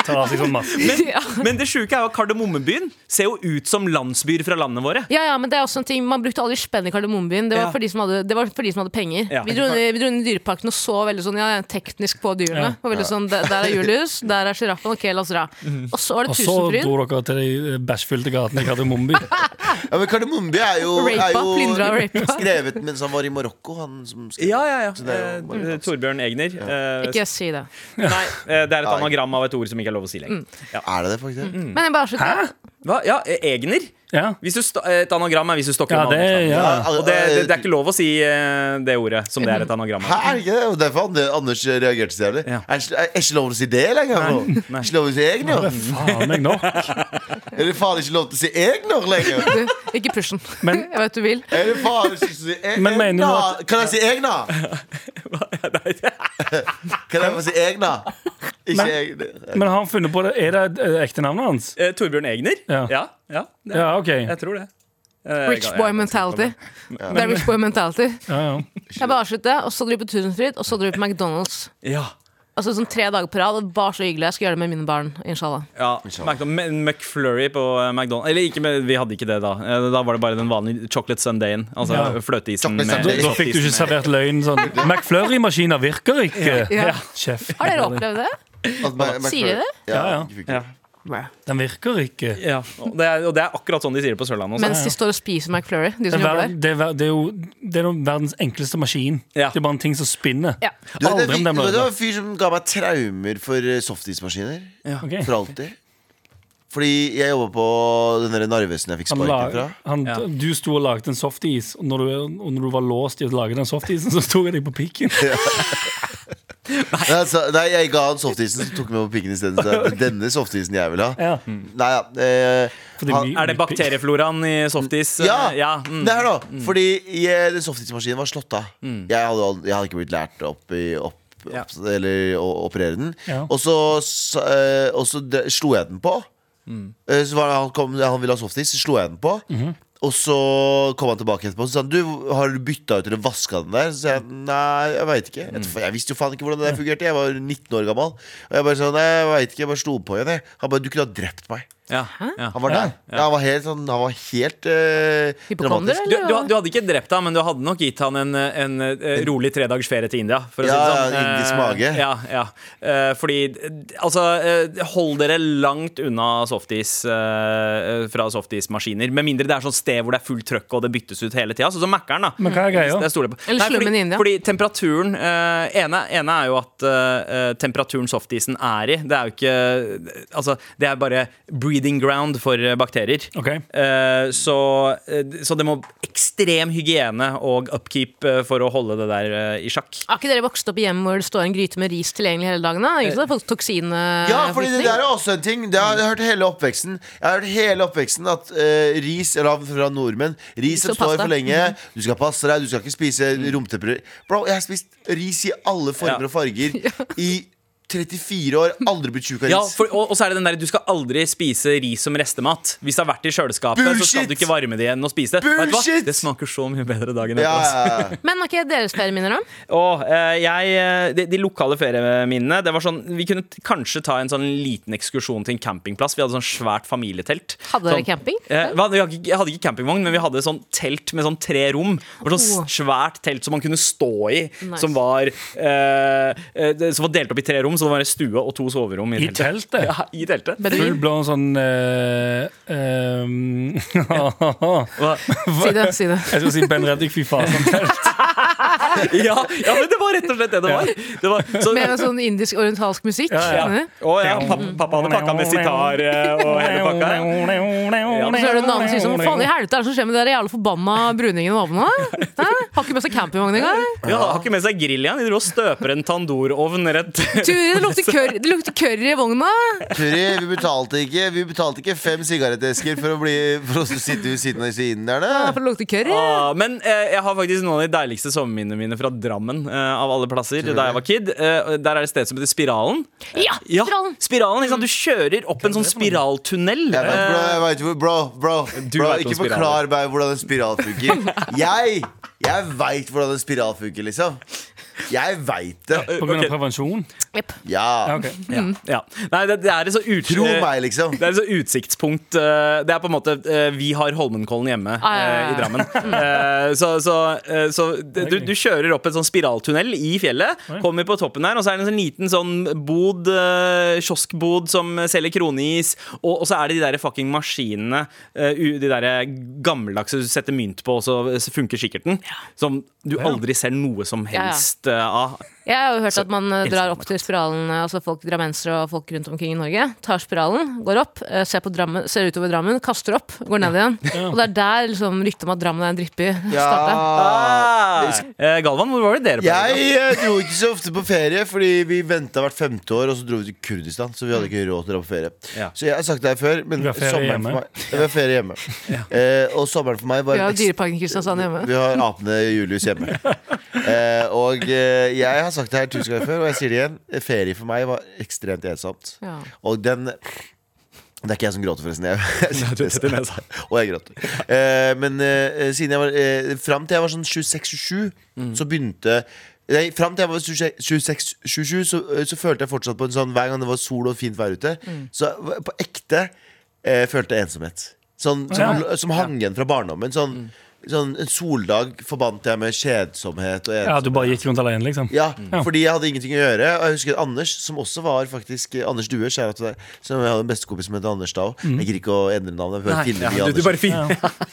Speaker 3: Tar av seg sånn masse.
Speaker 2: Ja.
Speaker 5: Men det sjuke er jo at Kardemommebyen ser jo ut som landsbyer fra landet våre.
Speaker 2: Ja, ja, men det er også en ting Man brukte aldri spenn i Kardemommebyen. Det, var
Speaker 5: Ja.
Speaker 2: for de som hadde- det var for de som hadde penger.
Speaker 5: Ja.
Speaker 2: Vi, dro, ned- vi dro inn i Dyreparken og så veldig sånn, ja, ja, teknisk på dyrene. Og veldig sånn, Der der er Julius, der er sjiraffen. Ok, la oss dra. Og så var det
Speaker 3: Og så
Speaker 2: Tusenfryd.
Speaker 3: dro dere til de bæsjfylte gatene i Kardemommeby.
Speaker 4: ja, men Kardemommeby er jo, er
Speaker 2: Rapa, plyndra og
Speaker 4: jo
Speaker 2: rapa.
Speaker 4: skrevet mens han var i Marokko, han som skrev.
Speaker 5: Ja, ja, ja.
Speaker 4: Så det er jo bare-
Speaker 5: Eh, Torbjørn Egner. eh,
Speaker 2: Ikke si det.
Speaker 5: Nei, eh, det er et
Speaker 4: Nei.
Speaker 5: anagram av et ord som ikke er lov å si lenger. Ja.
Speaker 4: Er det det, faktisk?
Speaker 2: Men jeg bare slutter.
Speaker 5: Hva? Ja, eh, Egner?
Speaker 3: Ja,
Speaker 5: Hvis du sta eh, et anagram er hvis du stokker
Speaker 3: ja
Speaker 5: en
Speaker 3: det
Speaker 5: annen.
Speaker 3: ja.
Speaker 5: Og det, det, det er ikke lov å si eh, det ordet som det er et anagram
Speaker 4: Hæ,
Speaker 5: av.
Speaker 4: er det ikke det? Og derfor Ander- Anders reagerte så jævlig.
Speaker 5: Ja.
Speaker 4: Er ikke- er ikke lov til å si det lenger? nå?
Speaker 5: nei.
Speaker 4: Ikke lov til å si egner?
Speaker 3: Faen meg nok.
Speaker 4: Er det faen ikke lov til å si egner lenger?
Speaker 2: Du, ikke push den.
Speaker 3: Men-
Speaker 2: Jeg vet du vil.
Speaker 4: Er det faen ikke lov til å si e-
Speaker 3: Men mener du
Speaker 4: egner?
Speaker 3: at-
Speaker 4: Kan jeg si egna? Kan jeg få si egna? Ikke
Speaker 3: Men-
Speaker 4: egner.
Speaker 3: Men har han funnet på det? Er det eh, ekte navnet hans?
Speaker 5: Eh, Torbjørn Egner?
Speaker 3: Ja.
Speaker 5: ja, ja, det-
Speaker 3: Ja, OK.
Speaker 5: Jeg tror det. Eh,
Speaker 2: Rich
Speaker 5: ja,
Speaker 2: boy
Speaker 5: ja.
Speaker 2: mentality. Det er rich boy mentality.
Speaker 3: Ja, ja.
Speaker 2: Jeg bare avslutter, og så dro vi på Tusenfryd, og så dro vi på McDonald's.
Speaker 5: Ja.
Speaker 2: Altså sånn Tre dager på rad. og Det var så hyggelig. Jeg skal gjøre det med mine barn. Inshallah.
Speaker 5: Ja, McDonald- M- McFlurry på eh, McDonald's Eller ikke, med- vi hadde ikke det da. Eh, Da var det bare den vanlige chocolate sundayen. Altså
Speaker 3: Ja.
Speaker 5: fløteisen
Speaker 4: Chocolate
Speaker 5: med
Speaker 3: Da, da fikk du ikke servert løgn sånn McFlurry-maskiner virker ikke!
Speaker 2: Ja.
Speaker 3: Ja, Kjeft.
Speaker 2: Har dere opplevd det?
Speaker 4: At Mac- Mac-
Speaker 2: Sier de det?
Speaker 4: Altså, Ja,
Speaker 3: Ja, ja.
Speaker 4: fikk-
Speaker 5: Ja.
Speaker 3: Den virker ikke.
Speaker 5: Ja, og det, er, og det er akkurat sånn de sier det på Sørlandet også.
Speaker 2: Mens de står og spiser McFlurry, de
Speaker 3: Det
Speaker 2: som
Speaker 3: er,
Speaker 2: jobber
Speaker 3: ver-
Speaker 2: der.
Speaker 3: det, er, ver- det er jo det er jo verdens enkleste maskin.
Speaker 5: Ja.
Speaker 3: Det er bare en ting som spinner.
Speaker 2: Ja.
Speaker 4: Du vet, det,
Speaker 3: Aldri
Speaker 4: det
Speaker 3: om den ble
Speaker 4: var en
Speaker 3: ødelagt.
Speaker 4: fyr som ga meg traumer for eh, softismaskiner.
Speaker 3: Ok.
Speaker 4: For alltid. Fordi jeg jobba på den der Narvesen jeg fikk
Speaker 3: Han la,
Speaker 4: sparken fra.
Speaker 3: han,
Speaker 5: Ja.
Speaker 3: Du sto og lagde en softis, og når du, og når du var låst i å lage den softisen, så tok jeg deg på pikken.
Speaker 4: Nei, altså, nei, jeg ga han softisen, så tok han meg på pikken isteden. Så det er Denne softisen jeg vil ha.
Speaker 3: Ja.
Speaker 4: Nei, ja. Eh,
Speaker 3: For det
Speaker 4: han-
Speaker 3: er mye-
Speaker 5: Er det bakteriefloraen i softis?
Speaker 4: ja,
Speaker 5: Eh, ja mm. Mm.
Speaker 4: det her da Fordi jeg, den softismaskinen var slått av jeg, hadde, ald- jeg hadde ikke blitt lært opp i opp
Speaker 5: Ja.
Speaker 4: opp- Eller å operere den
Speaker 3: Ja.
Speaker 4: Og så, s- eh, og så dre- slo jeg den på
Speaker 5: Mm.
Speaker 4: Eh, Så var det, han, kom, han ville ha softis Så slo jeg den på Og så kom han tilbake etterpå og sa han, Du, har du byttet ut eller vasket den der? Så sa jeg, nei, jeg vet ikke
Speaker 5: Mm.
Speaker 4: jeg, jeg visste jo faen ikke hvordan det der fungerte Jeg var 19 år gammel Og jeg bare sa, nei, jeg vet ikke Jeg bare slo på igjen jeg. Han bare, du kunne ha drept meg
Speaker 5: Ja, ja.
Speaker 4: Han var der ja, Han var helt, sånn, han var helt eh,
Speaker 2: Hypokonder,
Speaker 5: Du,
Speaker 2: eller?
Speaker 5: du, du hadde ikke drept ham, men du hadde nok gitt han en, en, eh, rolig tredagers ferie til India. For å
Speaker 4: Ja,
Speaker 5: si det sånn.
Speaker 4: ja, indisk
Speaker 5: Eh,
Speaker 4: mage.
Speaker 5: Ja, ja. Eh, fordi eh, Altså, eh, hold dere langt unna softis eh, fra softismaskiner. Med mindre det er sånn sted hvor det er fullt trøkk og det byttes ut hele tida. Sånn som Mækkern, da.
Speaker 3: Men hva er greia?
Speaker 5: Det stoler jeg på.
Speaker 2: Eller
Speaker 5: Nei,
Speaker 2: slummen
Speaker 5: fordi,
Speaker 2: i India.
Speaker 5: Fordi temperaturen eh, ene, ene er jo at eh, temperaturen softisen er i. Det er jo ikke Altså, det er bare breeding ground for eh, bakterier.
Speaker 3: Ok.
Speaker 5: Eh, så, eh, så det må ekstrem hygiene og upkeep eh, for å holde det der eh, i sjakk.
Speaker 2: Har ikke dere vokst opp i hjem hvor det står en gryte med ris tilgjengelig hele dagen? da? Ikke sant? Folk eh, toksin
Speaker 4: Eh, Ja, fordi det der er også en ting. Det har jeg hørt hele oppveksten. Jeg har hørt hele oppveksten at eh, ris eller fra nordmenn
Speaker 2: Ris
Speaker 4: Ris
Speaker 2: og
Speaker 4: oppstår
Speaker 2: pasta.
Speaker 4: for lenge. Du skal passe deg, du skal ikke spise romteprø... Bro, jeg har spist ris i alle former
Speaker 5: Ja.
Speaker 4: og farger i 34 år. Aldri blitt tjukk av
Speaker 5: Ja,
Speaker 4: ris.
Speaker 5: for, og, og så er det den der, Du skal aldri spise ris som restemat. Hvis det har vært i kjøleskapet, så skal
Speaker 4: Bullshit!
Speaker 5: du ikke varme det igjen og spise det. Vet du hva?
Speaker 4: Bullshit!
Speaker 5: Det smaker så mye bedre dagen
Speaker 4: Ja,
Speaker 5: etter.
Speaker 4: ja, ja.
Speaker 2: Men har ikke deres ferieminner, da?
Speaker 5: Og eh, jeg, eh, de, de lokale ferieminnene Det var sånn, Vi kunne t- kanskje ta en sånn liten ekskursjon til en campingplass. Vi hadde sånn svært familietelt.
Speaker 2: Hadde dere
Speaker 5: sånn,
Speaker 2: camping?
Speaker 5: Eh, hva- vi hadde ikke, jeg hadde ikke campingvogn, men vi hadde sånn telt med sånn tre rom. Det var sånn
Speaker 2: Oh.
Speaker 5: svært telt som man kunne stå i.
Speaker 2: Nice.
Speaker 5: Som, var, eh, eh, det- som var delt opp i tre rom, så det var en stue og to soverom i
Speaker 3: I
Speaker 5: teltet.
Speaker 3: teltet?
Speaker 5: Ja, i teltet.
Speaker 3: Full
Speaker 2: Bedrin?
Speaker 3: blown sånn eh, ehm, Jeg
Speaker 5: Hva-
Speaker 2: Si det. si det
Speaker 3: skal si Ben Reddik, fy faen. Sånn telt.
Speaker 5: ja, ja, men det var rett og slett det det var. Det var så,
Speaker 2: Med sånn indisk-orientalsk musikk.
Speaker 3: Ja,
Speaker 2: skjønner du?
Speaker 5: å ja, pappa, pappa hadde pakka med sitar eh, og hele pakka.
Speaker 2: Og så er det en annen som sier sånn Faen i helvete, hva er det som skjer med de der jævla forbanna bruningene og naboene? Hæ? Har ikke med seg campingvogn engang.
Speaker 5: Ja, har ikke med seg grill igjen. De dro og støper en tandorovn rett
Speaker 2: Turi, det lukter curry, det lukter curry i vogna.
Speaker 4: Turi, vi betalte ikke Vi betalte ikke fem sigarettesker for å, bli, for å sitte ved siden av disse
Speaker 2: Ja,
Speaker 4: inderne.
Speaker 2: For det lukter curry.
Speaker 5: Ah, men eh, jeg har faktisk noen av de deiligste sommerminnene mine fra Drammen. eh, av alle plasser, da jeg var kid. Eh, der er det et sted som heter Spiralen.
Speaker 2: Ja,
Speaker 5: Ja,
Speaker 2: Trond.
Speaker 5: spiralen, ikke sant? Du kjører opp en sånn spiraltunnel. Eh,
Speaker 4: Jeg vet, bro, jeg vet, hvor- bro, bro,
Speaker 5: Du
Speaker 4: bro
Speaker 5: vet om
Speaker 4: ikke
Speaker 5: spiraler.
Speaker 4: forklar meg hvordan en spiral funker. Jeg, jeg veit hvordan en spiral funker, liksom. Jeg veit det.
Speaker 3: På grunn av
Speaker 5: Ok.
Speaker 3: prevensjon? Ja,
Speaker 4: Ja.
Speaker 3: ok.
Speaker 5: Ja. Nei, det, det er et så ut...
Speaker 4: Tro
Speaker 5: eh,
Speaker 4: meg, liksom.
Speaker 5: Det er et så utsiktspunkt. eh, Det er på en måte eh, Vi har Holmenkollen hjemme
Speaker 2: Ah, ja, ja,
Speaker 5: eh, i
Speaker 2: ja.
Speaker 5: Drammen. Eh, Så, så, eh, så d- du, du kjører opp en sånn spiraltunnel i fjellet, kommer på toppen der, og så er det en sånn liten sånn bod, eh, kioskbod som selger kroneis, og, og så er det de der fucking maskinene, eh, u- de der gammeldagse du setter mynt på, og så funker kikkerten, som du aldri ser noe som
Speaker 2: ja.
Speaker 5: helst eh, av.
Speaker 2: Jeg har jo hørt at man eh,
Speaker 5: elsker
Speaker 2: drar
Speaker 5: jeg
Speaker 2: opp til spiralen, eh, altså folk drammensere og folk rundt omkring i Norge. Tar spiralen, går opp, eh, ser, på Drammen, ser utover Drammen, kaster opp, går ned igjen. Og det er der liksom, ryktet om at Drammen er en drittby, starta. Ah!
Speaker 5: Eh, Galvan, hvor var det dere på?
Speaker 4: Jeg eh, dro ikke så ofte på ferie, fordi vi venta hvert femte år, og så dro vi til Kurdistan. Så vi hadde ikke råd til å dra på ferie.
Speaker 5: Ja.
Speaker 4: Så jeg har sagt det her før, men
Speaker 3: Vi har ferie
Speaker 4: sommeren
Speaker 3: hjemme.
Speaker 4: for meg Vi har ferie hjemme. Eh, og sommeren for meg
Speaker 2: Vi
Speaker 4: var
Speaker 2: har
Speaker 4: en
Speaker 2: jo Dyreparken i Kristiansand hjemme.
Speaker 4: vi har apene Julius hjemme. Eh, og eh, jeg har sagt det her tusen ganger før, og jeg sier det igjen. Ferie for meg var ekstremt ensomt.
Speaker 2: Ja.
Speaker 4: Og den Det er ikke jeg som gråter, forresten.
Speaker 5: du setter
Speaker 4: Jeg,
Speaker 5: nesa.
Speaker 4: og jeg gråter. Eh, men eh, siden jeg var eh, Fram til jeg var sånn 26-27, så begynte Nei, Fram til jeg var 26-27, så, eh, så følte jeg fortsatt på en sånn Hver gang det var sol og fint vær ute, så på ekte eh, følte jeg ensomhet. Sånn, som, som hang igjen fra barndommen. Sånn, sånn En soldag forbandt jeg med kjedsomhet og
Speaker 3: Ja,
Speaker 4: ensomhet.
Speaker 3: du bare gikk rundt alene, liksom?
Speaker 4: Ja, fordi jeg hadde ingenting å gjøre. Og jeg husker Anders, som også var faktisk eh, Anders Due, kjære til deg, som jeg hadde en bestekompis som het Anders da òg. Jeg gidder ikke å endre navnet. Jeg bare finner mye
Speaker 5: du, du
Speaker 4: Anders.
Speaker 5: bare fin.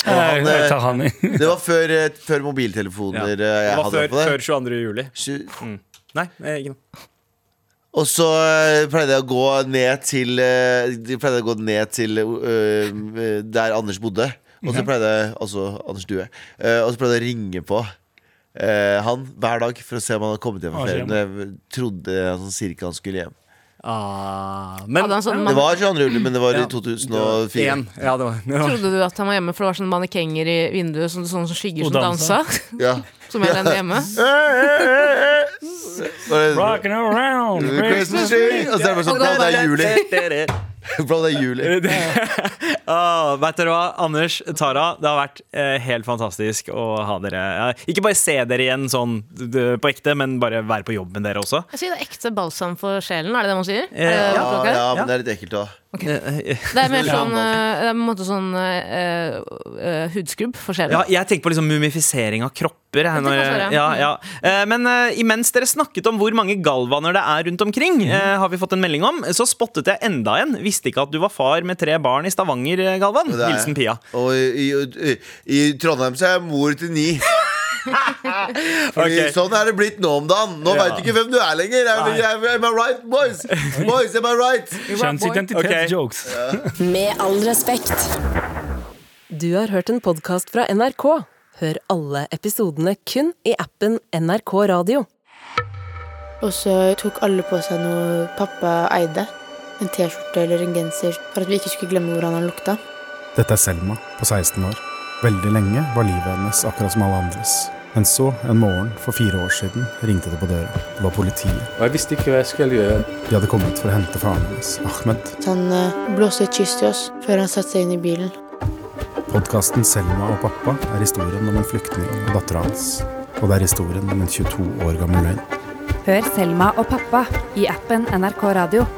Speaker 3: Jeg, jeg tar han i.
Speaker 4: Det var før, eh, før mobiltelefoner eh, jeg
Speaker 5: Det var
Speaker 4: hadde
Speaker 5: før,
Speaker 4: på
Speaker 5: før 22. juli.
Speaker 4: det.
Speaker 5: Nei, eh, ikke noe.
Speaker 4: Og så eh, pleide jeg å gå ned til eh, de pleide å gå ned til eh, der Anders bodde. Og så pleide jeg, altså Anders Due, eh, og så pleide jeg å ringe på eh, han hver dag for å se om han hadde kommet hjem fra
Speaker 3: Ah,
Speaker 4: ferien.
Speaker 3: skjønner.
Speaker 4: når Jeg trodde eh, sånn cirka han skulle hjem.
Speaker 5: Ah,
Speaker 2: Hadde
Speaker 5: men
Speaker 2: han sånn,
Speaker 4: Det
Speaker 2: man,
Speaker 4: var 22. juli, men det var i
Speaker 5: Én.
Speaker 4: 2004.
Speaker 5: Ja, det var, det var.
Speaker 2: trodde du at han var hjemme, for det var sånne mannekenger i vinduet, sånne, sånne skygger
Speaker 3: Og
Speaker 2: som dansa.
Speaker 3: dansa.
Speaker 4: Ja. Eh,
Speaker 2: Som jeg levde hjemme.
Speaker 4: Var det-
Speaker 3: Rockin' around
Speaker 4: eh. Christmas tree! Og så er det bare sånn
Speaker 2: Og da
Speaker 4: Bro, det er juli. Bro, det er juli.
Speaker 5: Ah, vet dere hva, Anders, Tara, det har vært eh, helt fantastisk å ha dere ja, Ikke bare se dere igjen sånn d- på ekte, men bare være på jobb med dere også.
Speaker 2: Jeg sier det er ekte balsam for sjelen, er det det man sier?
Speaker 5: Eh,
Speaker 2: Er det
Speaker 4: Ja,
Speaker 2: språket?
Speaker 4: ja, men det er litt ekkelt òg.
Speaker 5: Eh, eh,
Speaker 2: Det er mer sånn, eh, det er på en måte sånn eh, eh, hudskrubb for sjelen.
Speaker 5: Ja, jeg tenker på liksom mumifisering av kropper. Jeg,
Speaker 2: det kan
Speaker 5: når jeg,
Speaker 2: være.
Speaker 5: ja, ja. Eh, Men eh, imens dere snakket om hvor mange galvaner det er rundt omkring, eh, har vi fått en melding om, så spottet jeg enda en. Visste ikke at du var far med tre barn i Stavanger, eh, Galvan.
Speaker 4: er jeg.
Speaker 5: Hilsen Pia.
Speaker 4: Og i, i, i Trondheim så er jeg mor til ni. Fordi
Speaker 5: Ok.
Speaker 4: Sånn er det blitt nå om dagen. Nå
Speaker 5: Ja.
Speaker 4: vet du ikke hvem du er lenger. Am, am, am I right, boys? Boys, am I right?
Speaker 3: Kjønnsidentitetsjokes.
Speaker 1: Med all respekt. Du har hørt en podkast fra NRK. Hør alle episodene kun i appen NRK Radio.
Speaker 10: Og så tok alle på seg noe pappa eide. En T-skjorte eller en genser. For at vi ikke skulle glemme hvordan han lukta.
Speaker 11: Dette er Selma på 16 år. Veldig lenge var livet hennes akkurat som alle andres. Men så, en morgen for fire år siden, ringte det på døra. Det var politiet.
Speaker 9: Og jeg visste ikke hva jeg skulle gjøre.
Speaker 11: De hadde kommet for å hente faren hennes, Ahmed.
Speaker 10: Så han eh, blåste et kyss til oss før han satte seg inn i bilen.
Speaker 11: Podkasten 'Selma og pappa' er historien om en flyktning og dattera hans. Og det er historien om en 22 år gammel løgn.
Speaker 10: Hør Selma og pappa i appen NRK Radio.